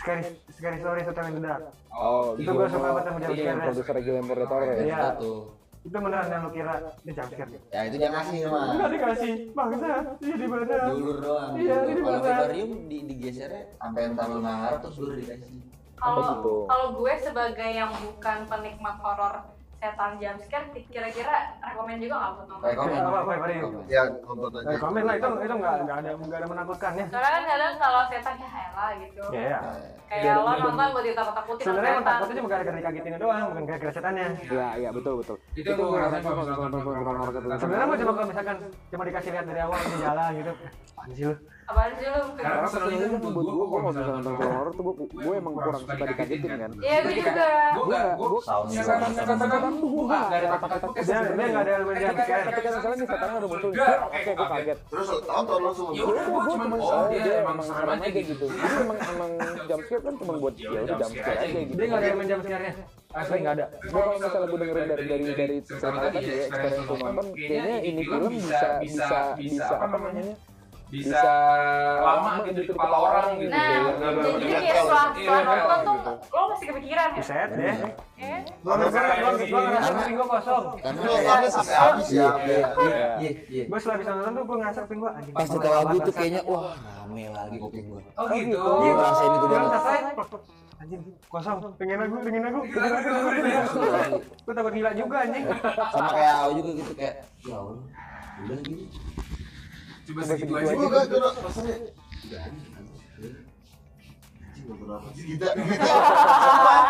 S1: scary scary story tentang the dark
S6: Oh,
S1: itu gue suka banget sama jam
S6: Iya, yang
S1: scare
S6: produser Guillermo del Toro ya.
S1: Iya.
S5: Itu tuh
S1: itu beneran yang lu kira ini jam scare
S5: ya itu dia ngasih mah
S1: enggak dikasih bangsa iya di mana
S5: dulur doang
S1: Iya,
S5: gitu.
S1: ini
S5: kalau
S1: beneran.
S5: vivarium di digesernya sampai entar lu ngarep terus dulur dikasih
S6: gitu.
S2: kalau kalau gue sebagai yang bukan penikmat horor setan jumpscare kira-kira rekomend juga nggak buat nonton
S5: kayak komen
S1: Apa, apa, apa, apa?
S4: ya nonton aja
S1: Eh, komen lah itu itu nggak nggak ada nggak ada menakutkan ya
S2: soalnya kan kadang kalau setan ya elah gitu
S1: Iya, iya.
S2: kayak lo nonton buat ditakut-takutin
S1: sebenarnya yang
S2: sama setan.
S1: takut itu cuma gara-gara dikagetin doang bukan gara-gara setannya
S6: Iya, iya, betul, betul.
S3: Itu yang gue ngerasain kalau misalnya nonton film horor gitu.
S1: sebenarnya gue coba kalau misalkan cuma dikasih lihat dari awal di jalan gitu apaan sih lu
S2: apaan sih lu
S3: Karena sebenarnya itu
S6: Buat gue,
S3: buat gue
S6: gue kalau misalnya nonton film horor tuh gue, gue emang kurang suka dikagetin kan.
S2: iya gue juga
S3: Gue nggak, gue
S5: Sound
S3: setan setan setan tuh gue nggak nggak ada takut-takut.
S1: dia dia nggak ada elemen jam
S3: Ketika-
S1: scare
S6: Ketika misalnya nih setannya udah muncul,
S3: Udah,
S6: oke,
S3: oke,
S6: gue kaget.
S4: terus nonton langsung
S3: Ya udah,
S6: gue
S3: gue cuma
S6: cuma
S3: oh dia emang serem aja
S6: kayak gitu
S3: gitu.
S6: jadi emang emang jump scare kan cuma buat ya udah jump scare aja gitu
S1: dia nggak ada elemen jam scare-nya
S6: Asli nggak ada. Gue kalau misalnya gue dengerin dari dari dari cerita tadi ya, cerita yang gue nonton, kayaknya ini film bisa bisa bisa apa namanya?
S3: Bisa lama gitu di kepala orang gitu.
S2: nah jadi
S3: Iya,
S2: kayak setelah setelah nonton
S3: Oh,
S2: tuh lo masih kepikiran ya
S1: buset
S5: Iya.
S1: ya
S2: Eh,
S1: gue ngerasa gue ngerasa kuping gue kosong
S5: karena
S1: iya,
S4: nontonnya sampai habis ya
S6: Iya.
S5: iya iya
S1: gue setelah bisa nonton tuh gue ngerasa kuping gue anjing
S5: pas buka lagu tuh kayaknya wah rame lagi kuping gua
S3: Oh gitu.
S1: Iya,
S5: ngerasain itu
S1: Belum
S5: banget.
S1: selesai. Anjing, kosong. Pengen aku, pengen aku. Pengen aku, pengen aku. Gue takut gila juga anjing.
S5: sama kayak aku juga gitu kayak ya Allah udah gitu
S3: Coba segitu aja.
S4: gue gak kena rasanya udah anjing, anjing, nonton apa sih? Gita, gita. Sumpah.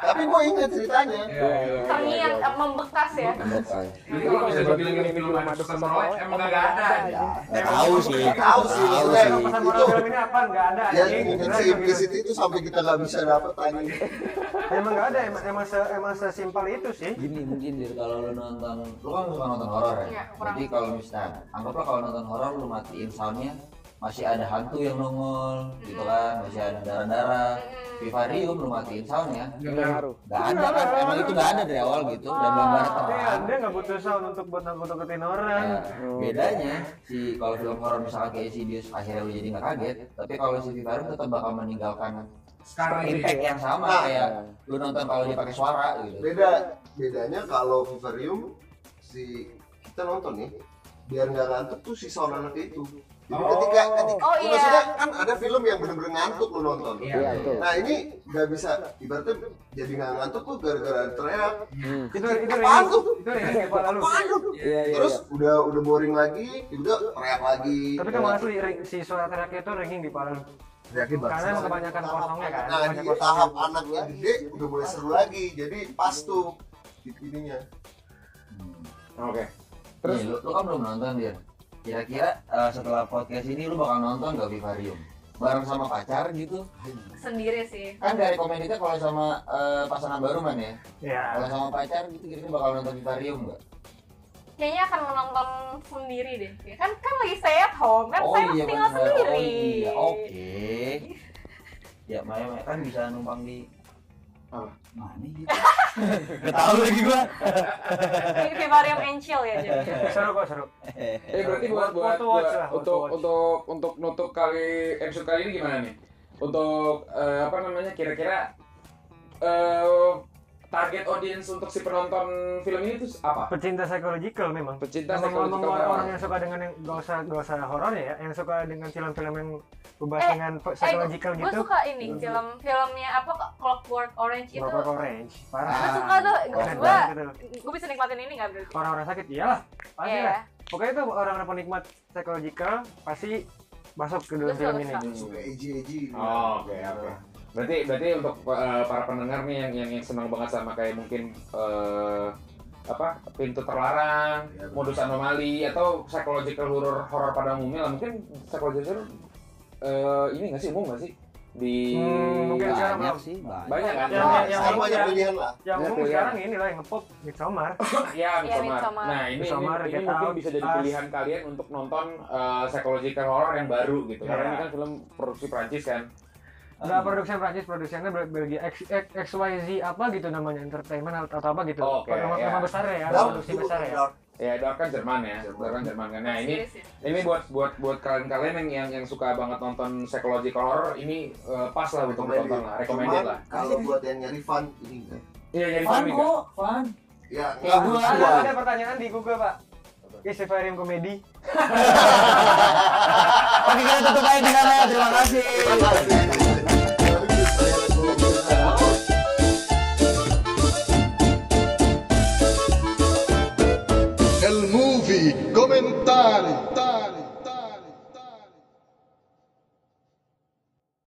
S4: tapi gue inget ceritanya
S3: Iya, iya.
S2: terngiang eh, membekas ya
S3: Jadi kalau bisa dibilang ini film ada pesan moral, emang nggak ada.
S5: ya nggak tahu sih
S4: Nggak tahu sih,
S5: Nggak
S4: maksudnya.
S5: tahu
S1: Pesan
S5: sih
S1: moral film ini apa? Enggak ada
S4: ya
S1: anjing.
S4: mungkin
S1: Beneran
S4: si
S1: gitu.
S4: implisit itu sampai kita nggak bisa dapet anjing
S1: Emang enggak ada, emang emang se emang sesimpel itu sih.
S5: gini mungkin jadi kalau lu nonton lu kan suka nonton horor
S2: Iya,
S5: ya
S2: kurang.
S5: jadi kalau misalnya anggaplah kalau nonton horor lu matiin soundnya masih ada hantu yang nongol gitu kan masih ada darah darah vivarium lu matiin soundnya
S6: Ngaruh.
S5: nggak
S4: Iya.
S5: ada kan emang itu nggak ada dari awal gitu dan
S2: Ah.
S5: gambar
S1: Iya,
S5: terang
S1: dia nggak butuh sound untuk buat buat takutin orang.
S4: Iya.
S5: Nah, bedanya si kalau film horor misalnya kayak Insidious akhirnya lu jadi nggak kaget tapi kalau si Vivarium tetap bakal meninggalkan
S3: Sekarang ini.
S5: impact yang sama
S4: Nah.
S5: kayak lu nonton kalau dia pakai suara gitu
S4: beda bedanya kalau vivarium si kita nonton nih biar nggak ngantuk tuh si sound anak itu jadi ketika ketika
S2: Oh, iya.
S4: maksudnya kan ada film yang bener-bener ngantuk lu nonton
S6: Iya, betul.
S4: nah ini nggak bisa ibaratnya jadi nggak ngantuk tuh gara-gara teriak
S6: Hmm.
S1: Itu itu
S4: Apaan
S1: remix,
S4: tuh?
S1: itu remix kepala lu.
S4: apaan lu?
S6: Iya, iya.
S4: terus udah udah boring lagi udah teriak lagi
S1: kan Tapi itu asli ring- si suara teriak itu ringing di kepala lu.
S4: Yakin banget.
S1: Karena kebanyakan kosongnya kan.
S4: Nah,
S1: kebanyakan
S4: di
S1: kosongnya.
S4: tahap anaknya gede udah mulai seru lagi. Jadi pas tuh gitu ininya.
S3: Hmm.
S8: Oke.
S3: Terus-
S5: Nah, Terus lu, lu kan belum nonton dia. Kira-kira eh, setelah podcast ini lu bakal nonton gak Vivarium? Bareng sama pacar gitu?
S2: sendiri sih
S5: Kan dari komen itu kalau sama eh, pasangan baru man ya.
S1: Iya.
S5: Kalau sama pacar gitu kira-kira bakal nonton Vivarium gak?
S2: kayaknya akan menonton sendiri deh Ya kan kan lagi stay at home kan saya mesti tinggal
S5: Oh, bener.
S2: sendiri
S5: Oh iya, oke. Ya, Maya, Maya kan bisa numpang di
S8: Apa?
S5: Mana gitu. Gak tahu lagi gua.
S2: di vivarium and chill ya jadi
S1: Seru kok seru.
S2: Iya,
S3: Eh berarti buat buat,
S1: Worth watch
S3: buat-
S1: lah, worth
S3: untuk
S1: watch.
S3: untuk untuk nutup kali episode kali ini gimana nih? Untuk eh, apa namanya kira-kira eh, target audience untuk si penonton film ini itu apa?
S1: Pecinta psychological memang.
S3: Pecinta
S1: Emang ngomong
S3: psychological
S1: orang,
S3: horror.
S1: yang suka dengan yang gak usah gak usah horor ya, yang suka dengan film-film yang bebas
S2: Eh,
S1: dengan psychological
S2: gue
S1: gitu.
S2: suka ini film filmnya apa Kak? Clockwork Orange itu
S1: Bapak Orange, parah.
S2: gue suka tuh
S1: Keren
S2: gue
S1: banget itu.
S2: gue bisa nikmatin ini nggak berarti
S1: Orang-orang sakit, iyalah, pasti
S2: Iya,
S1: lah.
S2: ya
S1: Pokoknya itu orang-orang penikmat psychological pasti masuk ke dalam
S2: Betul,
S1: film ini.
S2: betul.
S4: Suka eji-eji.
S3: Oh, oke, oke. Berarti berarti untuk eh, para pendengar nih yang yang, yang senang banget sama kayak mungkin eh, apa pintu terlarang,
S4: Iya, betul.
S3: modus anomali atau psychological horror horror pada umumnya lah mungkin psychological eh, ini nggak sih umum nggak sih di Nah,
S1: Hmm, mungkin Ya, sekarang
S5: Banyak
S1: belum.
S5: sih, banyak.
S3: banyak kan?
S1: Yang-
S4: Nah,
S1: yang- yang-
S4: sekarang banyak
S1: yang-
S4: pilihan lah.
S1: Yang
S3: Ya,
S1: umum
S3: kuliah.
S1: sekarang ini lah yang ngepop Midsommar.
S3: Ya,
S2: Iya,
S3: Midsommar.
S2: Midsommar.
S3: Nah, ini, ini-
S1: Midsommar,
S3: ini,
S1: Get
S3: mungkin
S1: Out,
S3: bisa jadi
S1: Us.
S3: pilihan kalian untuk nonton eh, psychological horror yang baru gitu. Karena
S1: Iya.
S3: ini kan film produksi Prancis kan.
S1: Enggak produksi Prancis, produksinya Bel- Belgia X, X, XYZ apa gitu namanya entertainment atau, atau apa gitu.
S3: Oke,
S1: Nama,
S3: ya.
S1: nama besarnya ya,
S4: Dark
S1: produksi
S4: juga,
S1: besar ya.
S4: dark.
S3: Ya, Dark kan Jerman ya. Dark kan Jerman kan. Nah, ini
S2: Serius ya?
S3: ini buat buat buat kalian-kalian yang yang yang suka banget nonton psychological horror ini eh, pas lah untuk
S4: Recommended.
S3: ditonton lah, recommended
S4: Cuman
S3: lah.
S4: kalau buat yang nyari fun ini enggak.
S3: Iya, jadi
S5: Fun
S3: komik, kan?
S5: kok, fun.
S4: Ya,
S5: Ya,
S4: enggak
S5: gua-
S1: Iya, Ada,
S4: buat.
S1: ada pertanyaan di Google pak. Is Vivarium
S5: [LAUGHS]
S1: komedi?
S5: Oke, kita tutup aja di sana. Terima kasih.
S4: Terima kasih.